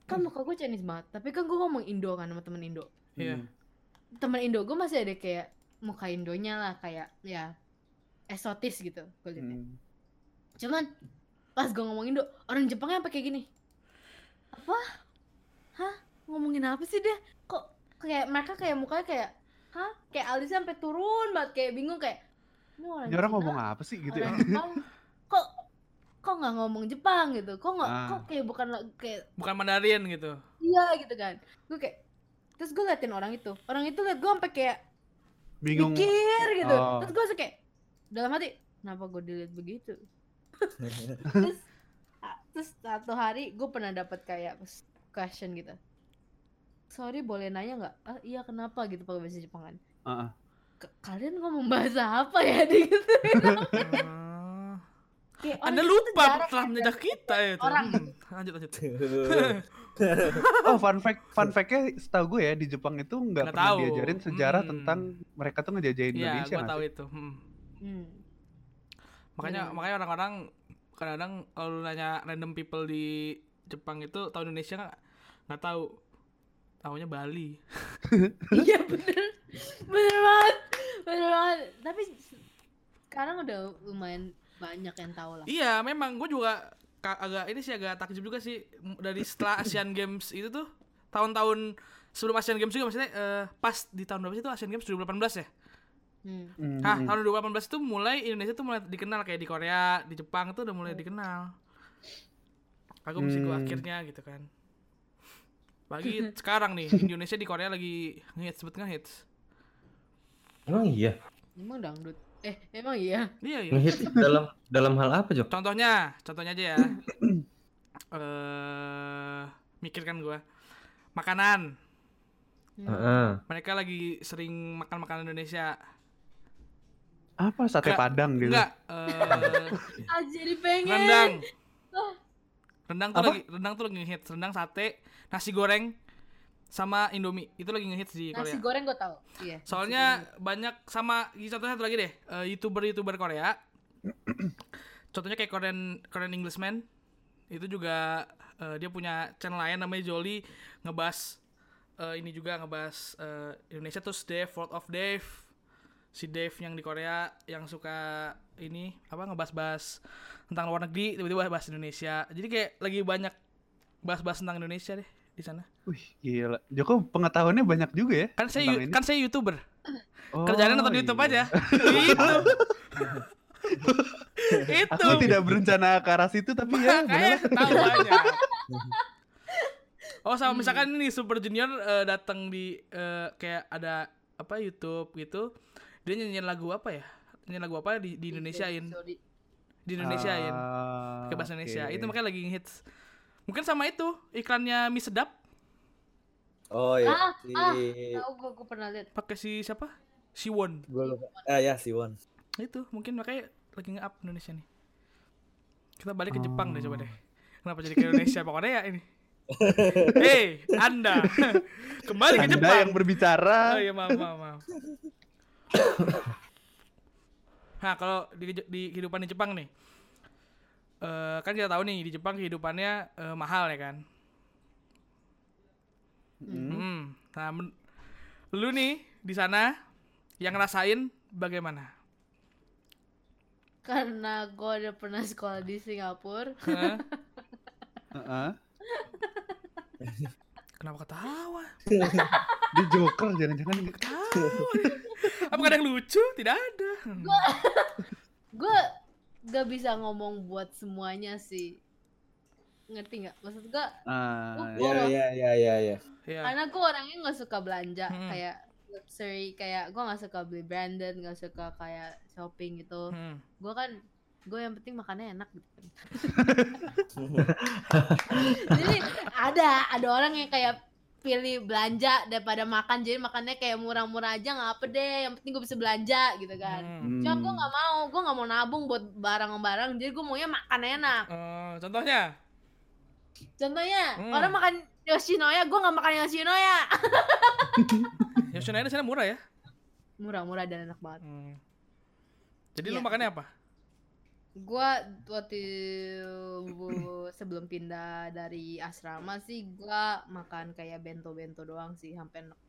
kan muka gue Chinese banget tapi kan gue ngomong Indo kan sama temen Indo
Hmm.
Iya.
temen Indo gue masih ada kayak muka Indonya lah kayak ya eksotis gitu gue liatnya.
Hmm.
cuman pas gue ngomong Indo orang Jepangnya pakai gini apa hah ngomongin apa sih dia kok kayak mereka kayak mukanya kayak hah kayak alisnya sampai turun banget kayak bingung kayak ini orang
Ini orang
Cina
ngomong apa sih gitu ya?
orang Jepang kok kok nggak ngomong Jepang gitu kok nggak
Ah.
kok kayak bukan la- kayak
Bukan Mandarin gitu.
iya gitu kan gue kayak terus gue liatin orang itu orang itu liat gue sampai kayak
Bingung.
mikir gitu
Oh.
terus gue kayak dalam hati kenapa gue dilihat
<laughs>
begitu terus a- terus satu hari gue pernah dapat kayak question gitu sorry boleh nanya nggak ah, iya kenapa gitu pakai bahasa Jepang kan
Heeh.
"K- kalian ngomong bahasa apa ya <laughs> gitu
<laughs>
Ah.
Kayak orang
Anda
Oh, itu gitu
lupa
jarang
telah
ada-
menjajah kita ya itu.
Orang.
Hmm, Lanjut lanjut.
Oh, fun fact, fun fact-nya setahu gue ya di Jepang itu nggak
Nggak
pernah
tahu.
diajarin sejarah
Hmm.
tentang mereka tuh ngejajahin
Iya,
Indonesia.
gua
nggak
tahu
sih?
itu. Hmm.
Hmm.
Makanya
Bener.
makanya orang-orang kadang-kadang kalau lu nanya random people di Jepang itu tahu Indonesia nggak nggak tahu. Tahunya Bali.
iya bener bener banget bener banget tapi se- sekarang udah lumayan banyak yang tahu lah
Iya, memang gue juga ka- agak ini sih agak takjub juga sih M- dari setelah Asian Games itu tuh tahun-tahun sebelum Asian Games juga maksudnya eh, pas di tahun berapa sih itu Asian Games 2018 ya?
hmm.
Hmm.
Nah, tahun 2018 itu mulai Indonesia tuh mulai dikenal kayak di Korea, di Jepang tuh udah mulai dikenal. Kagum sih gue
Hmm.
akhirnya gitu kan. Lagi sekarang nih Indonesia di Korea lagi ngehits banget ngehits.
<laughs> Emang iya.
emang dangdut eh emang iya
Iya iya.
Ngehit dalam dalam hal apa, Jok?
Contohnya, contohnya aja ya. eh mikirkan gua. Makanan.
Heeh.
Mereka lagi sering makan makanan Indonesia.
Apa sate
Nggak-
Padang gitu?
Enggak, eh
ah jadi pengen
rendang. Rendang tuh
Apa?
lagi rendang tuh lagi ngehits. Rendang sate, nasi goreng sama Indomie. Itu lagi ngehits di
Nasi
Korea.
goreng gue tahu. Iya. nasi
Soalnya banyak sama contohnya satu lagi deh, eh, YouTuber-YouTuber Korea. <clears throat> Contohnya kayak Korean Korean Englishman. Itu juga eh, dia punya channel lain namanya Jolly ngebahas eh, ini juga ngebahas eh, Indonesia terus Dave World of Dave. Si Dave yang di Korea yang suka ini apa ngebahas-bahas tentang luar negeri tiba-tiba bahas Indonesia. Jadi kayak lagi banyak bahas-bahas tentang Indonesia deh di sana.
Wih, gila. Joko pengetahuannya banyak juga ya.
Kan saya
Tentang
yu-
ini.
kan saya YouTuber.
Oh,
Kerjaannya nonton YouTube
<laughs>
aja. Itu. itu.
Aku tidak berencana ke arah situ tapi ya
Makanya
benar.
tahu
<laughs>
aja. Oh sama misalkan ini Super Junior eh, datang di eh, kayak ada apa YouTube gitu. Dia nyanyiin lagu apa ya? Nyanyiin lagu apa di, di Indonesiain?
Sorry.
Di Indonesiain.
Ah,
Pakai bahasa Indonesia. Itu makanya lagi hits. Mungkin sama itu iklannya mie sedap
Oh iya.
Ah,
si...
ah. Tahu gue gue pernah lihat.
pakai si siapa? Siwon.
Gue lupa. Eh ya si Won.
Itu mungkin makanya lagi nge-up Indonesia nih. Kita balik ke Jepang deh coba deh. Kenapa jadi ke Indonesia
<laughs>
pokoknya ya ini? Hei, Anda. <laughs> Kembali ke
Anda
Jepang.
yang berbicara.
Oh iya, maaf, maaf, maaf. <coughs> nah, kalau di, di kehidupan di Jepang nih. eh, kan kita tahu nih di Jepang kehidupannya eh, mahal ya kan.
Hmm.
Hmm. Nah, men- lu nih di sana yang ngerasain bagaimana?
Karena gue udah pernah sekolah di Singapura.
Hah?
Heeh.
Kenapa ketawa?
Di Joker jangan-jangan
Ketawa. Apa kadang lucu? Tidak ada. Hmm.
Gue gak bisa ngomong buat semuanya sih. Ngerti nggak? Maksud gue
Ah,
Gua-
Iya iya iya iya <laughs> iya.
Ya.
karena gue orangnya nggak suka belanja
Hmm.
kayak luxury kayak gue nggak suka beli branded nggak suka kayak shopping gitu
Hmm.
gue kan gue yang penting makannya enak gitu
<laughs>
kan. jadi ada ada orang yang kayak pilih belanja daripada makan jadi makannya kayak murah-murah aja nggak apa deh yang penting gue bisa belanja gitu kan
Hmm.
Hmm.
Cuman gue gak mau, gue gak mau nabung buat barang-barang Jadi gue maunya makan enak
Eh, contohnya?
Contohnya,
Hmm.
orang makan Yoshinoya, gue gak makan Yoshinoya <laughs>
Yoshinoya di sana murah ya?
Murah-murah dan enak banget
Hmm. Jadi lu
Iya.
makannya apa?
gua waktu bu- sebelum pindah dari asrama sih gua makan kayak bento-bento doang sih sampai enak.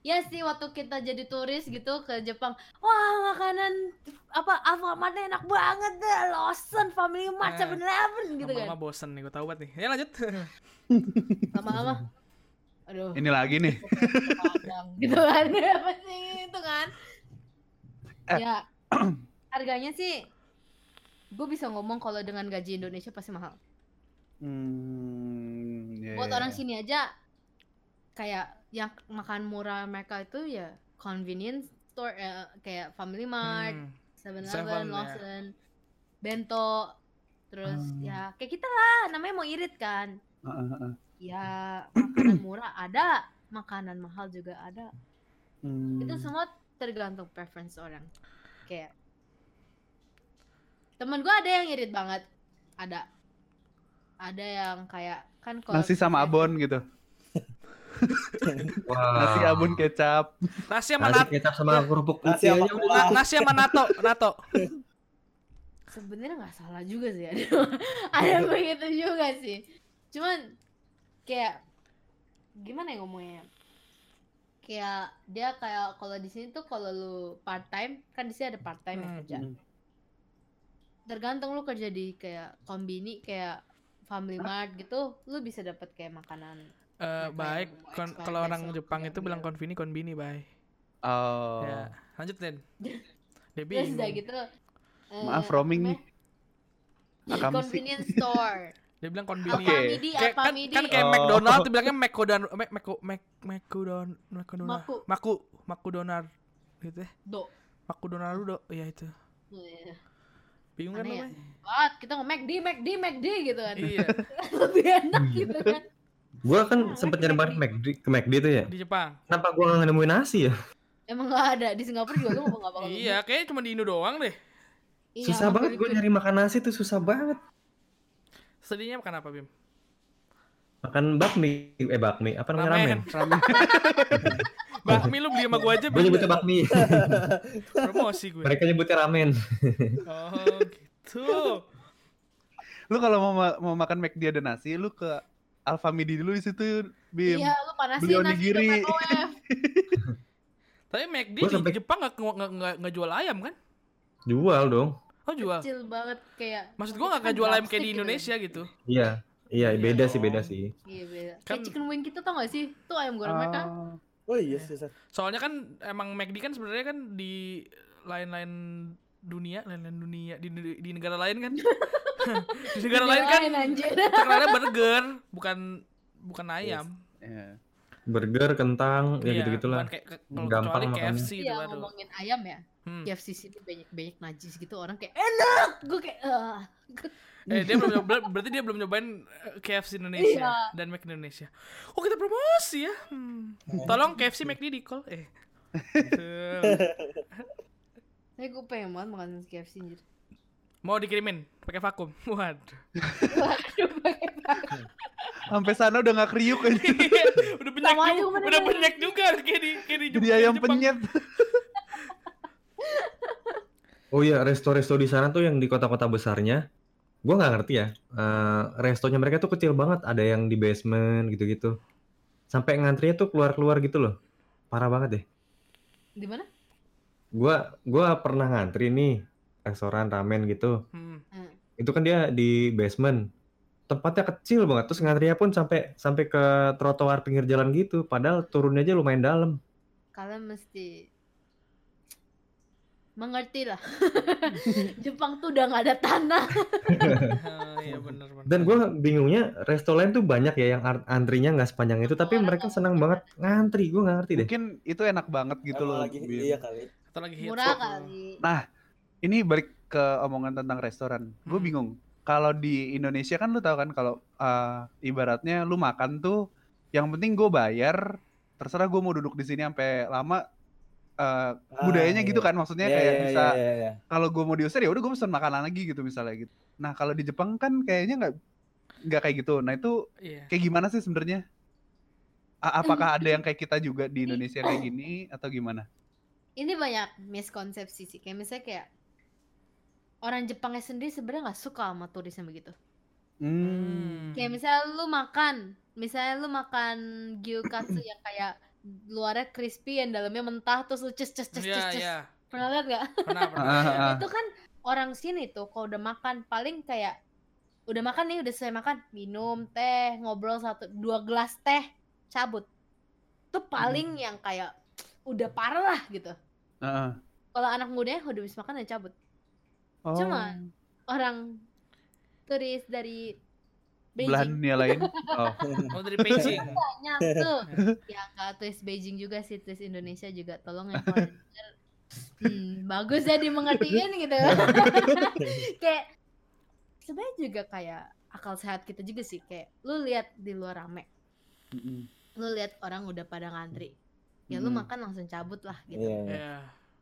Ya sih waktu kita jadi turis gitu ke Jepang, wah makanan apa Alfamartnya enak banget deh, Lawson, Family Mart,
Eh,
7-Eleven gitu
Lama-lama
kan.
bosen nih, gue tau banget nih. Ya lanjut.
Lama-lama, aduh,
Ini lagi nih.
padang gitu kan, <laughs> apa sih itu kan?
Eh.
Ya harganya sih, gue bisa ngomong kalau dengan gaji Indonesia pasti mahal.
Hmm, ya,
buat
ya,
orang
ya.
sini aja kayak yang makan murah mereka itu ya convenience store eh, kayak Family Mart,
Hmm.
Seven
Seven,
Eleven,
ya.
Lawson, Bento, terus
Hmm.
ya kayak kita lah namanya mau irit kan,
Heeh, heeh.
ya makanan murah ada, makanan mahal juga ada,
Hmm.
itu semua tergantung preference orang, kayak temen gua ada yang irit banget, ada, ada yang kayak kan kalau
Nasi sama
misalnya-
abon gitu.
Wah.
Nasi abon kecap.
Nasi sama
Nasi
nato.
kecap sama kerupuk putih
Nasi sama
aja udah.
kuah.
Nasi sama nato, nato.
sebenarnya nggak salah juga sih ada
Iya.
<laughs> ada begitu juga sih cuman kayak gimana ya ngomongnya kayak dia kayak kalau di sini tuh kalau lu part time kan di sini ada part time ya
Hmm,
kerja tergantung lu kerja di kayak kombini kayak Family Mart gitu, lu bisa dapat kayak makanan.
Eh, baik, kon-
Expired
kalau orang
besok,
Jepang
ya,
itu bilang
bener.
konvini, konbini, bye.
Oh.
Ya, lanjut
<laughs>
Den. Debi.
Terus udah gitu. eh,
Maaf roaming nih.
apa ya?
Akam sih.
Convenience
<laughs>
store.
Dia bilang konbini.
Oke.
Alfamidi,
Kayak, kan,
Alfamidi.
kan kayak
Oh.
McDonald, dia bilangnya McDonald, Mac, Mac, Mac, McDonald, McDonald,
Maku.
Maku, McDonald, gitu ya.
Do.
McDonald dulu, iya itu. Bingung kan
Aneh
lu,
ya?
Bay?
Wah, kita ngomong McD, McD, McD gitu kan.
Iya,
Lebih enak gitu kan.
Gua kan sempet nyari makan ke McD, ke McD tuh ya.
di Jepang.
Kenapa gua nggak nemuin nasi ya?
Emang gak ada di Singapura juga lu nggak bakal nemu.
Iya, kayaknya cuma di Indo doang deh.
Iya,
Susah
makanya
banget gua
itu.
nyari makan nasi tuh susah banget.
Studinya makan apa, Bim?
Makan bakmi, eh bakmi, apa namanya ramen?
<laughs> Ramen. Bakmi lu beli sama gua aja,
Gue
Bim.
nyebutnya bakmi,
Promosi gue.
mereka nyebutnya ramen.
Oh, gitu.
Lu kalau mau ma- mau makan McD ada nasi, lu ke Alfamidi dulu di situ, Bim.
Iya, lu panasin
Beli
nasi di
onigiri.
microwave.
Tapi McD
Gua
di
sampai-
Jepang nggak nggak- nggak nggak jual ayam kan?
Jual dong.
Oh jual.
Kecil Kan banget kayak.
Maksud gua nggak jual ayam kayak di Indonesia gitu.
Iya, iya beda sih
dong.
beda sih.
Iya, beda.
Kan-
Kayak chicken wing kita tau gak sih? Tuh ayam
Ah.
goreng mereka.
Oh iya sih. Sat.
Soalnya kan emang McD kan sebenarnya kan di lain-lain dunia, lain-lain dunia di, di, di negara lain <laughs> kan. di negara lain kan
Belain,
<laughs>
anjir.
terkenalnya burger, bukan bukan ayam.
Iya.
Burger, kentang, ya
Iya,
gitu-gitulah.
bukan kayak- ke- kalau
Gampang
kecuali
makannya.
KFC itu
Iya,
baru.
ngomongin ayam ya.
gitu, Hmm.
KFC sini banyak banyak najis gitu orang kayak enak. Gue kayak "Ah."
Eh, dia belum nyoba- berarti dia belum nyobain eh, KFC Indonesia
Iya.
dan McD Indonesia. Oh, kita promosi ya. Hmm. Tolong KFC McD di call. Eh. Gitu.
Tapi gue pengen banget makan KFC
<laughs>
anjir.
Mau dikirimin pakai vakum. Waduh.
Waduh, pengen banget.
Sampai sana udah
<laughs>
nggak kriuk aja.
udah banyak
Sama aja
juga,
kemarin.
udah banyak juga kayak di kayak di
Jadi
Jepang-
ayam
Jepang.
penyet.
Oh iya, resto-resto di sana tuh yang di kota-kota besarnya, gua nggak ngerti ya. Eh, restonya mereka tuh kecil banget, ada yang di basement gitu-gitu. Sampai ngantrinya tuh keluar-keluar gitu loh. Parah banget deh.
Di mana?
Gua gua pernah ngantri nih restoran ramen gitu.
Hmm.
Itu kan dia di basement. Tempatnya kecil banget, terus ngantrinya pun sampai sampai ke trotoar pinggir jalan gitu. Padahal turunnya aja lumayan dalam.
Kalian mesti mengerti lah. Jepang tuh udah gak ada tanah.
Ah, iya benar benar.
Dan gue bingungnya resto lain tuh banyak ya yang ar- antrinya nggak sepanjang itu, tapi
Orang
mereka
nggak
senang banget ngantri. Gue nggak ngerti deh.
Mungkin itu enak banget gitu
Emang
loh.
lagi
Bim.
iya kali.
Atau lagi hits
Murah
gitu.
kali.
Ini balik ke omongan tentang restoran. Gue
Hmm.
bingung. Kalau di Indonesia kan lu tahu kan kalau uh, ibaratnya lu makan tuh yang penting gue bayar, terserah gue mau duduk di sini sampai lama. uh,
Ah,
budayanya gitu
iya.
kan maksudnya
Iya,
kayak
iya,
bisa
iya, iya,
<laughs>
<laughs> iya.
kalau gue mau diusir ya udah gue pesan makanan lagi gitu misalnya gitu. Nah kalau di Jepang kan kayaknya nggak nggak kayak gitu. Nah itu
Iya.
kayak gimana sih sebenarnya? A- Apakah ada yang kayak kita juga di Indonesia kayak gini atau gimana?
ini banyak miskonsepsi sih kayak misalnya kayak orang Jepangnya sendiri sebenarnya nggak suka sama turis yang begitu
Hmm.
kayak misalnya lu makan misalnya lu makan gyukatsu yang kayak luarnya crispy yang dalamnya mentah terus lu ces ces ces
Iya,
ces ces
iya.
pernah lihat nggak
Pernah,
Ah,
pernah.
ah, ah.
itu kan orang sini tuh kalau udah makan paling kayak udah makan nih udah selesai makan minum teh ngobrol satu dua gelas teh cabut tuh paling yang kayak udah parah lah gitu
Ah, ah.
kalau anak mudanya udah habis makan ya cabut
Oh,
Cuma orang turis dari
belahan
Beijing
dunia lain. Oh.
Oh, dari Beijing.
banyak tuh yang nggak turis Beijing juga sih turis Indonesia juga tolong yang foreigner hmm, bagus ya dimengertiin gitu kayak sebenarnya juga kayak akal sehat kita juga sih kayak lu lihat di luar rame
Mm-mm.
lu lihat orang udah pada ngantri ya lu
Mm.
makan langsung cabut lah gitu
Iya, iya.
Iya.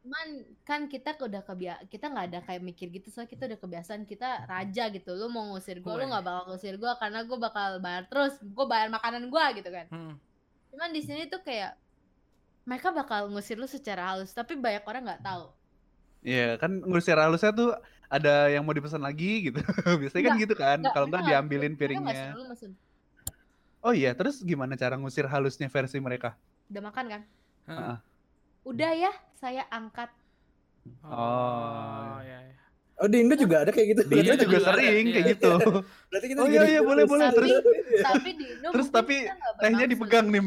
cuman kan kita ke- udah kebia kita nggak ada kayak mikir gitu soalnya kita udah kebiasaan kita raja gitu lu mau ngusir gue lu
Weh.
nggak bakal ngusir gue karena gue bakal bayar terus gue bayar makanan gue gitu kan
Hmm.
cuman di sini tuh kayak mereka bakal ngusir lu secara halus tapi banyak orang nggak tahu
Iya, kan ngusir halusnya tuh ada yang mau dipesan lagi gitu. <laughs> Biasanya kan
Nggak,
gitu kan.
nggak,
Kalau nggak
mereka nggak-
diambilin
mereka nggak
piringnya.
suruh lu mesen.
Oh iya, terus gimana cara ngusir halusnya versi mereka?
udah makan kan
Ah.
udah ya saya angkat
Oh, iya. iya.
Oh di Indo juga ada kayak gitu.
Di Indo
Berarti-
juga
juga
sering
ada,
kayak
iya.
gitu.
Berarti kita
Oh
juga
iya
di
iya
Indo
boleh
harus-
boleh. Terus
tapi di Indo
Terus
mungkin
tapi
kita nggak
tehnya
bermaksud.
dipegang nih.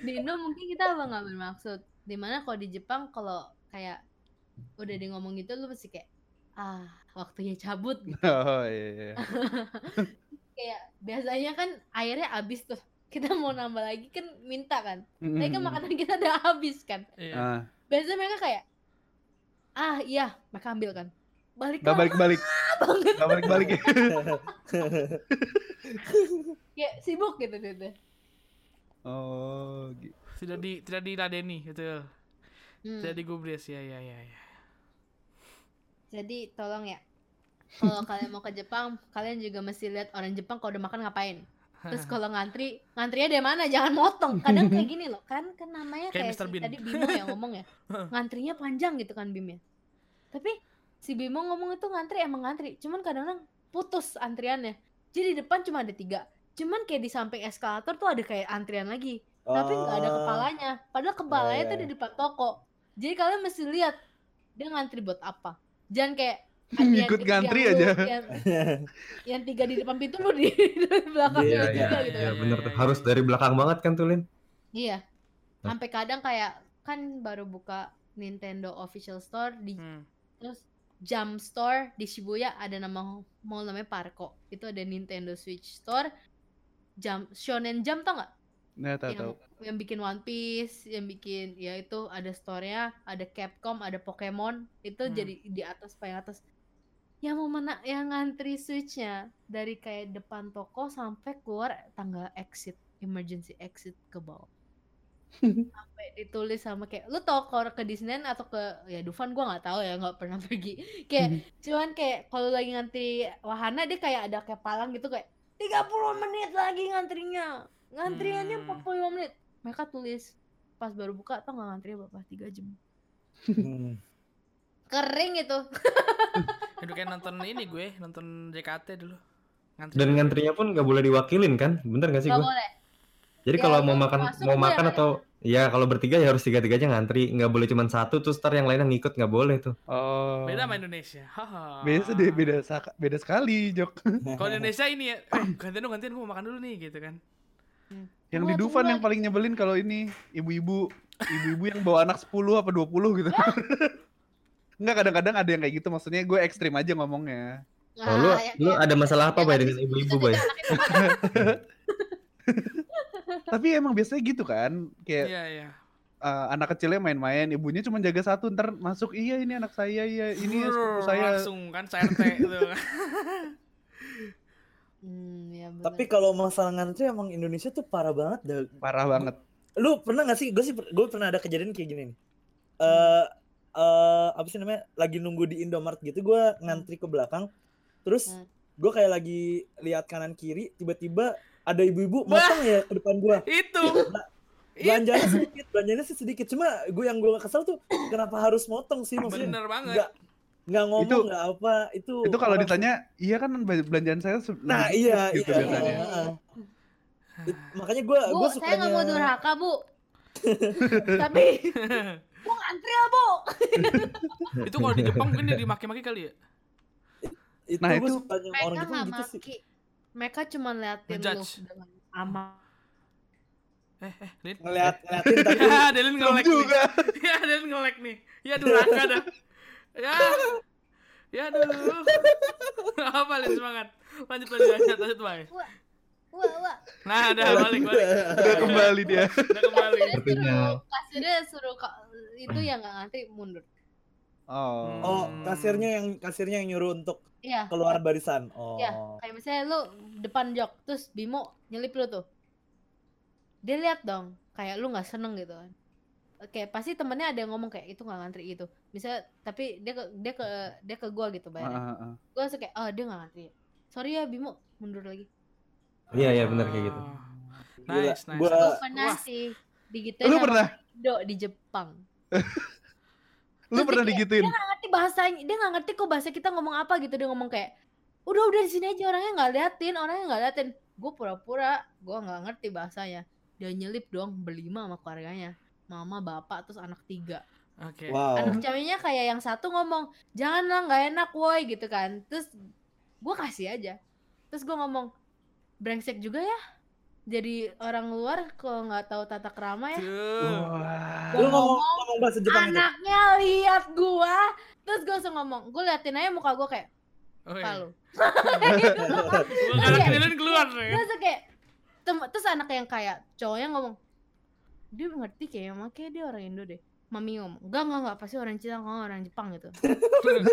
di Indo mungkin kita apa nggak bermaksud dimana kalau di Jepang kalau kayak udah di ngomong gitu lu pasti kayak ah waktunya cabut gitu.
<laughs> Oh iya iya.
kayak biasanya kan airnya habis tuh kita mau nambah lagi kan minta kan tapi kan
Mm-mm.
makanan kita udah habis kan
Iya.
Hmm. Ah,
biasanya mereka kayak ah iya mereka ambil kan balik
nggak
lagi
balik-balik.
<laughs> banget
Nggak balik-balik. <laughs>
kayak sibuk gitu gitu
Oh, gi-
Tidak di tidak diladeni, betul. Iya,
Hmm,
Tidak digubris. Ya, ya, ya, ya.
jadi tolong ya kalau kalian mau ke Jepang kalian juga mesti lihat orang Jepang kalau udah makan ngapain terus kalau ngantri ngantrinya dari mana jangan motong kadang kayak gini loh kan kan namanya
Kayak
kayak,
Mr.
si-
Bean.
tadi Bimo yang ngomong
<laughs>
ya ngantrinya panjang gitu kan Bim ya tapi si Bimo ngomong itu ngantri emang ngantri cuman kadang-kadang putus antriannya jadi di depan cuma ada tiga cuman kayak di samping eskalator tuh ada kayak antrian lagi tapi nggak ada
Oh,
kepalanya padahal kepalanya
iya,
tuh
iya.
di depan toko jadi kalian mesti lihat dia ngantri buat apa jangan kayak ada yang
Ikut
ketiga
ngantri
lu,
aja.
yang, yang tiga di depan pintu lu di, <laughs> di belakang lu
Iya,
Iya,
juga
iya,
gitu
iya,
kan.
bener
Iya,
tuh.
iya,
Harus
iya.
dari belakang banget kan tuh, Lin?
iya
Hah?
sampai kadang kayak kan baru buka Nintendo official store di
<laughs> Hmm.
terus jam store di Shibuya ada nama mall namanya Parko itu ada Nintendo Switch store jam Shonen Jump tau nggak
Nah, tahu
yang,
tahu.
yang bikin One Piece, yang bikin ya itu ada store-nya, ada Capcom, ada Pokemon, itu
Hmm.
jadi di atas paling atas. Yang mau mana yang ngantri Switch-nya dari kayak depan toko sampai keluar tangga exit, emergency exit ke bawah. sampai ditulis sama kayak lu tau kalau ke Disneyland atau ke ya Dufan gua nggak tahu ya nggak pernah <laughs> pergi kayak cuman kayak kalau lagi ngantri wahana dia kayak ada kayak palang gitu kayak 30 menit lagi ngantrinya ngantriannya
Hmm.
45 menit mereka tulis pas baru buka tau nggak ngantri berapa 3 jam
Hmm.
kering itu
Aduh kayak nonton ini gue, nonton JKT dulu. Ngantri.
Dan ngantrinya pun nggak boleh diwakilin kan? Bener nggak sih
nggak
gua?
boleh
Jadi
Ya,
kalau
lu
mau makan
masuk
mau
lu yang
makan
ada.
atau ya kalau bertiga ya harus tiga-tiganya ngantri, nggak boleh cuma satu terus ntar yang lainnya ngikut nggak boleh tuh.
Oh.
Beda sama Indonesia. Haha.
Beda deh, beda sak- beda sekali, Jok.
Kalau di Indonesia ini ya, <clears throat> eh, gantian dong gantian gue makan dulu nih gitu kan.
Yang
Wah,
di Dufan
tunggu
yang paling nyebelin kalau ini ibu-ibu, ibu-ibu yang bawa anak 10 apa 20
<laughs>
gitu. Enggak kadang-kadang ada yang kayak gitu, maksudnya gue ekstrim aja ngomongnya.
Nah,
Oh, lu
ya kan?
lu ada masalah apa bay dengan ibu-ibu bay?
Tapi emang biasanya gitu kan, kayak
Iya iya.
eh, anak kecilnya main-main, ibunya cuma jaga satu, ntar masuk, iya ini anak saya, iya ini sepupu
Brrr,
saya.
langsung kan CRT
<laughs>
gitu kan.
hmm, ya bener.
Tapi kalau masalah ngantri emang Indonesia tuh parah banget dah.
Parah banget.
Lu pernah gak sih? Gue sih gue pernah ada kejadian kayak gini nih. Eh eh, apa sih namanya? Lagi nunggu di Indomart gitu, gue ngantri ke belakang. Terus
Hmm.
gue kayak lagi lihat kanan kiri, tiba-tiba ada ibu-ibu
Wah.
motong ya ke depan gue.
Itu.
Iya.
Itu
Belanjanya sedikit, belanjanya sih sedikit. Cuma gue yang gue kesel tuh kenapa harus motong sih maksudnya?
bener banget.
Nggak nggak ngomong
Itu-
nggak apa itu.
Itu kalau
orang-
ditanya, iya kan bel- belanjaan saya se-
Nah
lebih
iya
dikit," gitu
iya,
biasanya.
iya, iya. It- makanya gue
bu
gue
saya
sukanya
nggak mau durhaka bu tapi bu ngantri lah bu
<laughs> Itu kalau di Jepang mungkin dia dimaki-maki kali ya.
itu
Nah,
gue
itu-
sukanya orang
mereka
gitu
nggak
gitu sih
maki mereka cuma liatin lu
Ngejudge.
dengan aman
Eh eh, Lin.
ngeliat
<laughs>
ngeliatin
<laughs>
tapi
Ya, Delin
Serem
ngelek nih.
juga.
Ya, Delin ngelek nih. Ya durhaka dah. Ya. Ya
<laughs>
aduh. Apa Lin semangat. Lanjut lanjut lanjut lanjut Bay.
wah wah
Nah, udah balik balik.
Udah kembali dia.
Udah kembali.
kasirnya
Sepertinya.
suruh kasirnya suruh ka- itu yang nggak ngantri mundur
Oh.
oh kasirnya yang kasirnya yang nyuruh untuk
iya
keluar barisan oh
Iya. kayak misalnya lu depan jok terus Bimo nyelip lu tuh dia lihat dong kayak lu nggak seneng gitu kan oke pasti temennya ada yang ngomong kayak itu nggak ngantri gitu misalnya tapi dia ke dia ke dia ke gua gitu
Ah,
bayarnya
ah, ah.
gua langsung kayak oh dia nggak ngantri sorry ya Bimo mundur lagi
Iya iya bener kayak gitu.
Oh,
Gila,
Nice, nice.
gua-
Gua
Ah,
pernah
wah.
sih digituin
Lu
sama
pernah
Indo di Jepang
lu
Terus
pernah
dia kayak-
digituin?
dia nggak ngerti bahasanya dia nggak ngerti kok bahasa kita ngomong apa gitu dia ngomong kayak udah udah di sini aja orangnya nggak liatin orangnya nggak liatin gue pura-pura gue nggak ngerti bahasanya dia nyelip dong berlima sama keluarganya mama bapak terus anak tiga
Oke.
wow
anak ceweknya kayak yang satu ngomong jangan lah nggak enak woi gitu kan terus gue kasih aja terus gue ngomong brengsek juga ya jadi orang luar kalau nggak tahu tata kerama ya
Tuh.
Wah.
lu ngomong ngomong bahasa Jepang gitu? itu
anaknya lihat gua terus gue langsung ngomong gue liatin aja muka gue kayak
Oke. <laughs>
apa lu
Gua galak Delin keluar. ya.
terus kayak tem- terus anak yang kayak cowoknya ngomong dia ngerti kayaknya makanya dia orang Indo deh mami ngomong enggak enggak enggak pasti orang Cina enggak orang Jepang gitu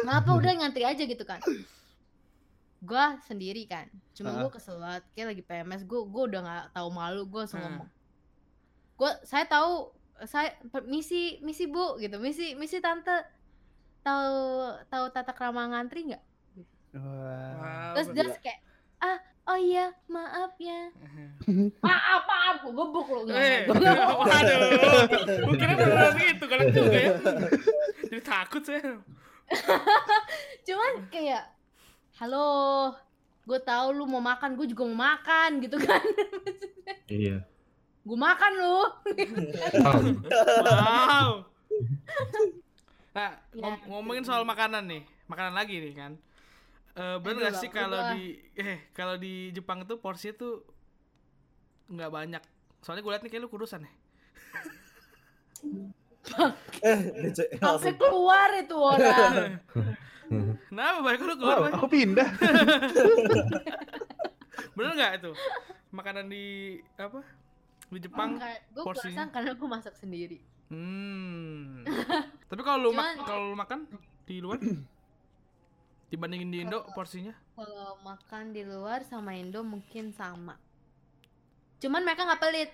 kenapa udah ngantri aja gitu kan gua sendiri kan cuma
Ah.
gua kesel banget kayak lagi PMS gua gua udah nggak tahu malu gua langsung
Hmm.
ngomong gua saya tahu saya misi misi bu gitu misi misi tante tahu tahu tata krama ngantri nggak
Wah.
Wow.
Terus
Ber-
dia kayak ah oh iya maaf ya.
Maaf, maaf, gue gebuk lu.
<laughs>
Eh, <laughs>
Enggak, enggak.
waduh. Gue kira beneran gitu, galak juga ya. Jadi takut saya.
<laughs> Cuman kayak, halo, gue tahu lu mau makan, gue juga mau makan gitu kan. <laughs>
Iya.
Gue makan lu.
Wow.
Paham.
Nah,
Iya,
Ya,
ngom-
gitu.
ngomongin soal makanan nih, makanan lagi nih kan. Eh
Aduh,
bener gak sih
lapar
kalau
gua.
di eh kalau di Jepang itu porsinya tuh nggak banyak. Soalnya gue liat nih kayak lu kurusan ya.
Eh, DC
Sampai
langsung.
keluar itu
<laughs>
orang.
Kenapa baik lu keluar?
Wow,
Bay?
aku pindah.
Bener nggak itu? Makanan di apa? Di Jepang.
Gue
porsinya.
kurasa karena gue masak sendiri.
Hmm.
<laughs>
Tapi kalau lu ma-
Cuman-
kalau lu makan di
<clears throat>
luar dibandingin di Indo porsinya?
Kalau makan di luar sama Indo mungkin sama. Cuman mereka nggak pelit.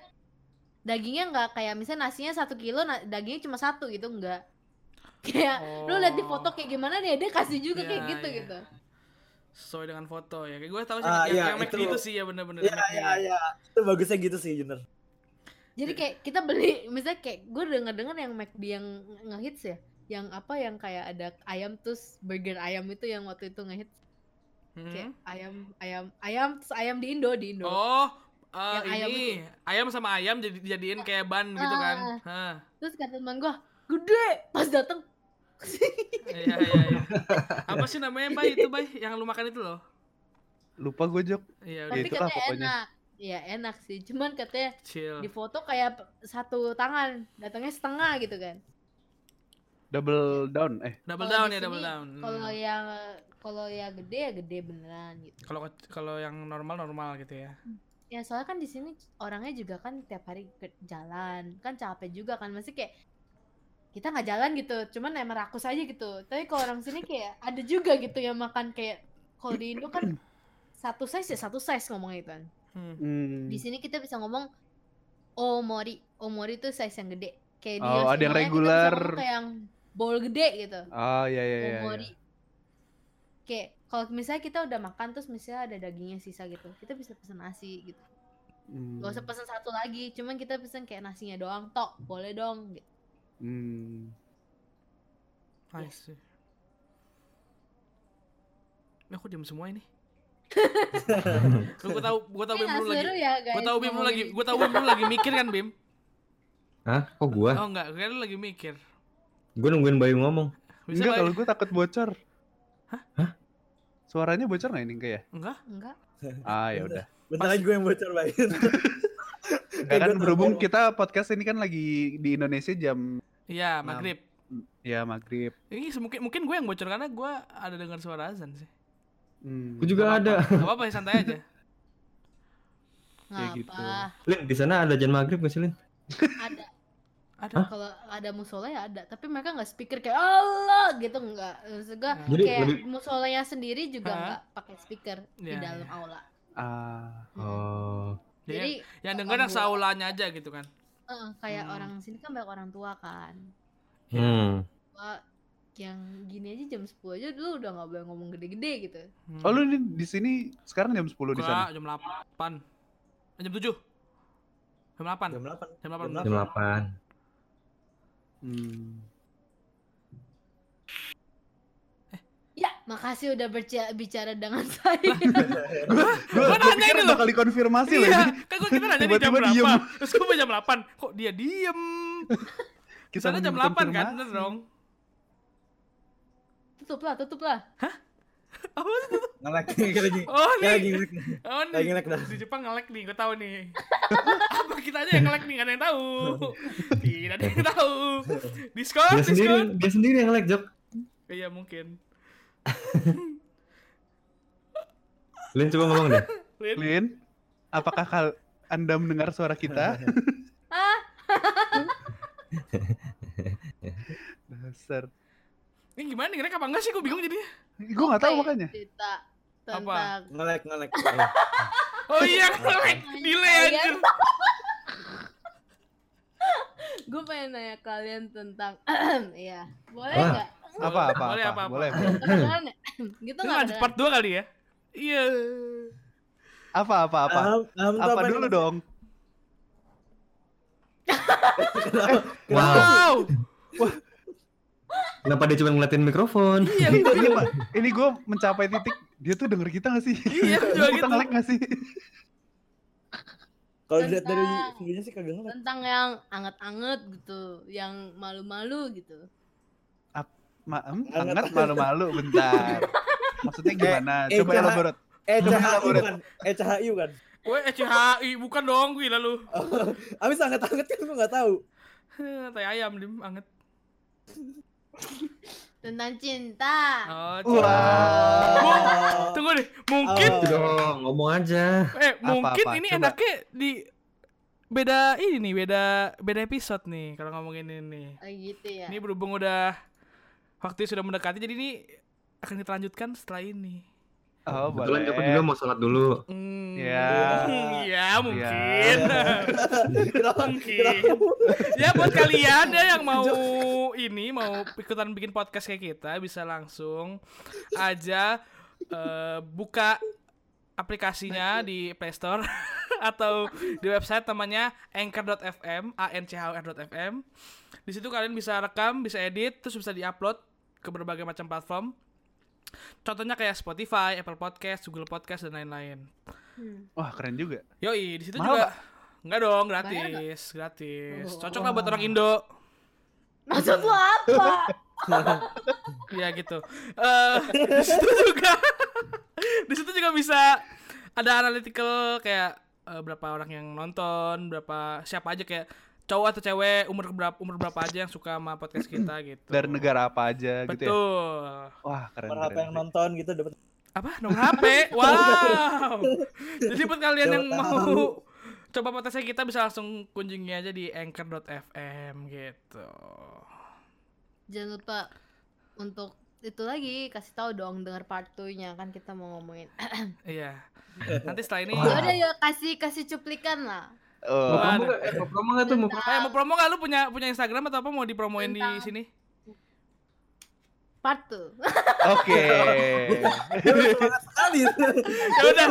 Dagingnya nggak kayak misalnya nasinya satu kilo, na- dagingnya cuma satu gitu nggak. <laughs> Kayak lu lihat di foto kayak gimana deh, dia kasih juga
Oh. Iya,
kayak gitu
iya.
gitu.
sesuai dengan foto ya kayak gue tahu sih yang,
Ah, iya,
yang McD
itu.
itu sih ya bener-bener
Ya,
McD.
ya, ya. Itu bagusnya gitu sih, Junior.
Jadi kayak kita beli, misalnya kayak gue denger denger yang McD yang ngehits ya, yang apa yang kayak ada ayam terus burger ayam itu yang waktu itu ngehits
Hmm.
kayak ayam ayam ayam terus ayam di Indo di Indo.
oh eh,
Yang ayam Ah.
ini ayam sama ayam jadi dijadiin kayak ban gitu kan Hah.
Terus kata teman gue, gede. Pas
<laughs>
dateng
iya iya iya apa sih namanya bay itu bay yang lu makan itu loh
Lupa gue jok.
iya udah
tapi
itulah
katanya
pokoknya.
enak Iya enak sih cuman katanya
chill
di foto kayak p- satu tangan datangnya setengah gitu kan
Double down. Eh,
double
Kalau
down
di
ya double
sini,
down
kalau
Hmm.
yang kalau ya gede ya gede beneran gitu
kalau ke- kalau yang normal normal gitu ya
ya soalnya kan di sini orangnya juga kan tiap hari ke- jalan kan capek juga kan masih kayak kita nggak jalan gitu cuman emang rakus aja gitu tapi kalau orang sini kayak ada juga gitu yang makan kayak kalau di Indo
<clears throat>
kan satu size ya satu size ngomongnya itu kan
Hmm.
hmm.
di sini kita bisa ngomong omori omori itu size yang gede kayak di
Oh, ada yang
Yoshinoya kita bisa
regular.
ngomong kayak yang bowl gede gitu
Oh iya iya iya.
omori
iya.
kayak kalau misalnya kita udah makan terus misalnya ada dagingnya sisa gitu kita bisa pesen nasi gitu
Hmm.
gak usah pesen satu lagi cuman kita pesen kayak nasinya doang tok boleh dong gitu.
Hmm.
I see. Ini aku diam semua
<laughs>
ini. gue tau, gue tau
Kayak
Bim
nggak
lu lagi,
seru ya guys
gue tau Bim lu
ngomongin
lagi, gue tau Bim lu lagi mikir kan Bim?
<laughs> Hah? Kok gua?
Oh enggak, kayaknya lu lagi mikir.
Gue nungguin Bayu ngomong.
Bisa ya?
Enggak
Bay?
kalau gue takut bocor. Suaranya bocor nggak ini kayak?
Enggak?
enggak
Ah ya udah.
Bentar lagi gue yang
<laughs>
bocor Eh, bayin.
Enggak kan berhubung kita podcast ini kan lagi di Indonesia jam
Iya,
Enam.
maghrib.
ya maghrib.
Ini mungkin mungkin gue yang bocor karena gue ada dengar suara azan sih.
Hmm.
Gue juga ada.
Gak apa-apa, ya, santai
<laughs>
aja.
Kayak
Ya
ngapa
gitu.
Lin, di sana ada jam maghrib nggak sih Lin?
ada
Ada.
kalau ada musola ya ada tapi mereka nggak speaker kayak Allah gitu nggak maksud gua
Hmm. Jadi
kayak
lebih-
musolanya sendiri juga
Hah?
nggak pakai speaker di
Iya,
dalam
iya.
aula Hmm.
Ah,
Oh.
Jadi
jadi
yang denger yang saulanya aja gitu kan.
eh, kayak
Hmm.
orang sini kan banyak orang tua kan
Hmm.
Wah, yang gini aja jam 10 aja dulu udah nggak boleh ngomong gede-gede gitu
Hmm.
oh lu di, di sini sekarang jam 10 di sana.
Enggak, jam 8. Eh, Jam 7. Jam 8.
Jam 8.
Jam 8.
jam
Jam 8.
Hmm.
ya makasih udah berca- bicara dengan saya
<laughs>
Gue
Gua nanya
pikir
ini loh.
bakal dikonfirmasi loh
Iya,
ini.
kan gue kita nanya di jam
Tiba-tiba
berapa.
diem.
Terus gue bilang jam 8. Kok dia diem? Di
Kita
sana jam 8 kan, bener dong. <laughs>
tutup lah tutup lah
Apa sih?
Ngelek lagi.
Oh,
Kayak
nih.
lagi.
Oh, nih.
Lagi nge-lag dah.
Di Jepang nge-lag nih, gue tahu nih. <laughs> Apa kita aja yang nge-lag nih, gak ada yang tahu. Tidak ada yang tahu. Discord,
Dia sendiri,
Discord.
dia sendiri yang lag, Jok.
Iya, mungkin.
Lin coba ngomong deh.
Lin.
Lin, apakah kal Anda mendengar suara kita?
Ah,
Dasar.
Ini gimana nih, apa enggak sih? Gue bingung jadinya.
Gue nggak tahu
Kayak
makanya.
ya? cerita
Apa?
tentang
Ngelek, ngelek.
Oh iya, <laughs> nge-lag. Delay
Kalian-
anjir.
gue pengen nanya kalian tentang <clears throat> ya boleh
Wah.
nggak
Apa apa
Boleh,
apa?
apa, apa.
Boleh.
kedengeran ya? gitu
Ini
nggak <clears throat>
lanjut part 2 kali ya? Iya.
Apa apa apa?
Aham- aham tuh
apa
apa
dulu
nih?
dong?
Wow,
Wow.
kenapa dia cuma ngeliatin mikrofon?
Iya,
Ini, ini, ini gue mencapai titik dia tuh denger kita gak sih?
Iya, aku juga
kita
gitu.
ngelag gak sih?
Kalau dilihat dari
Tentang.
videonya sih kagak ngeliat.
tentang yang anget-anget gitu yang malu-malu gitu
Ma- em, hangat
Hangat.
malu-malu bentar. Maksudnya gimana?
eh,
Coba
jangan.
elaborate.
Eh
Coba
CHI
elaborate.
kan? Eh CHI kan? <laughs>
Gue ECHI bukan dong gila lu.
Abis anget-anget kan gue gak tahu.
<laughs> Tai ayam dim anget.
tentang cinta
Oh,
Wah.
cinta. Bu, tunggu deh. Mungkin
Oh.
Gitu dong, ngomong aja.
eh mungkin
apa,
ini
coba.
enaknya di beda ini nih, beda beda episode nih kalau ngomongin ini nih.
Oh, gitu ya
Ini berhubung udah waktu sudah mendekati jadi ini akan kita lanjutkan setelah ini.
Oh, boleh.
Kebetulan Joko juga mau sholat dulu.
Hmm. <laughs>
Ya.
Ya, mungkin.
Kenapa?
mungkin.
Kenapa?
ya buat kalian ya yang mau ini mau ikutan bikin podcast kayak kita bisa langsung aja eh, buka aplikasinya di Play Store <laughs> atau di website namanya anchor.fm a n c h o r.fm. Di situ kalian bisa rekam, bisa edit, terus bisa diupload ke berbagai macam platform. Contohnya kayak Spotify, Apple Podcast, Google Podcast dan lain-lain.
Hmm.
Wah, keren juga.
Yoi, di situ
Mahal
juga Enggak dong,
Bayar
gratis,
nggak?
gratis.
Oh.
Cocok lah buat orang Indo.
maksud lo apa <laughs>
Iya gitu. Eh di situ juga, di situ juga bisa ada analytical kayak eh, berapa orang yang nonton, berapa siapa aja kayak cowok atau cewek, umur berapa umur berapa aja yang suka sama podcast kita gitu.
Dari negara apa aja gitu ya.
Betul.
Wah, keren.
Per
keren,
apa yang
keren.
nonton gitu dapat.
Apa? Nomor HP? Wow. Jadi buat kalian yang
Siapa
mau
tahu.
coba podcastnya kita bisa langsung kunjungi aja di anchor.fm gitu.
jangan lupa untuk itu lagi kasih tahu dong dengar part 2-nya kan kita mau ngomongin
Iya. Nanti setelah ini
<laughs>
Wah.
ya udah ya kasih kasih cuplikan lah
Oh,
Mau promo nggak? Eh, mau promo nggak tuh? Mau
Eh mau promo gak lu punya punya Instagram atau apa mau dipromoin di
Tentang-
sini? <laughs>
part 2
<laughs>
Oke.
Semangat sekali.
Ya udah.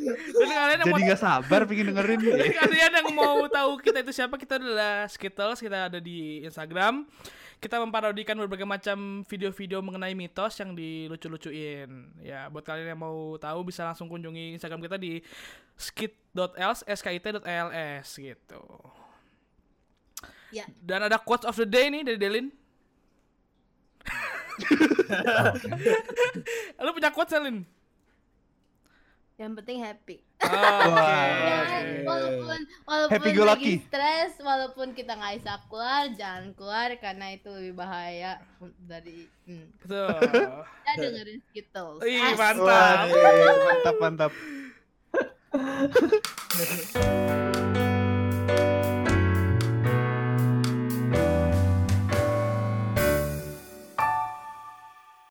Jadi kalian yang
Jadi
mau
nggak sabar pengen dengerin.
jadi kalian yang mau tahu kita itu siapa, kita adalah Skittles, kita ada di Instagram. Kita memparodikan berbagai macam video-video mengenai mitos yang dilucu-lucuin. Ya, buat kalian yang mau tahu bisa langsung kunjungi Instagram kita di skit.ls, skit.ls gitu.
<laughs> Ya.
Dan ada quotes of the day nih dari Delin. Lu punya quotes, ya, Delin?
yang penting happy
Wah.
Jangan, walaupun walaupun
Iya. Happy go
lagi
lucky.
stres, walaupun kita nggak bisa keluar, jangan keluar karena itu lebih bahaya dari hmm.
Betul.
kita dengerin Skittles.
Ih,
Asik.
mantap.
Wah, iya, iya, mantap, mantap.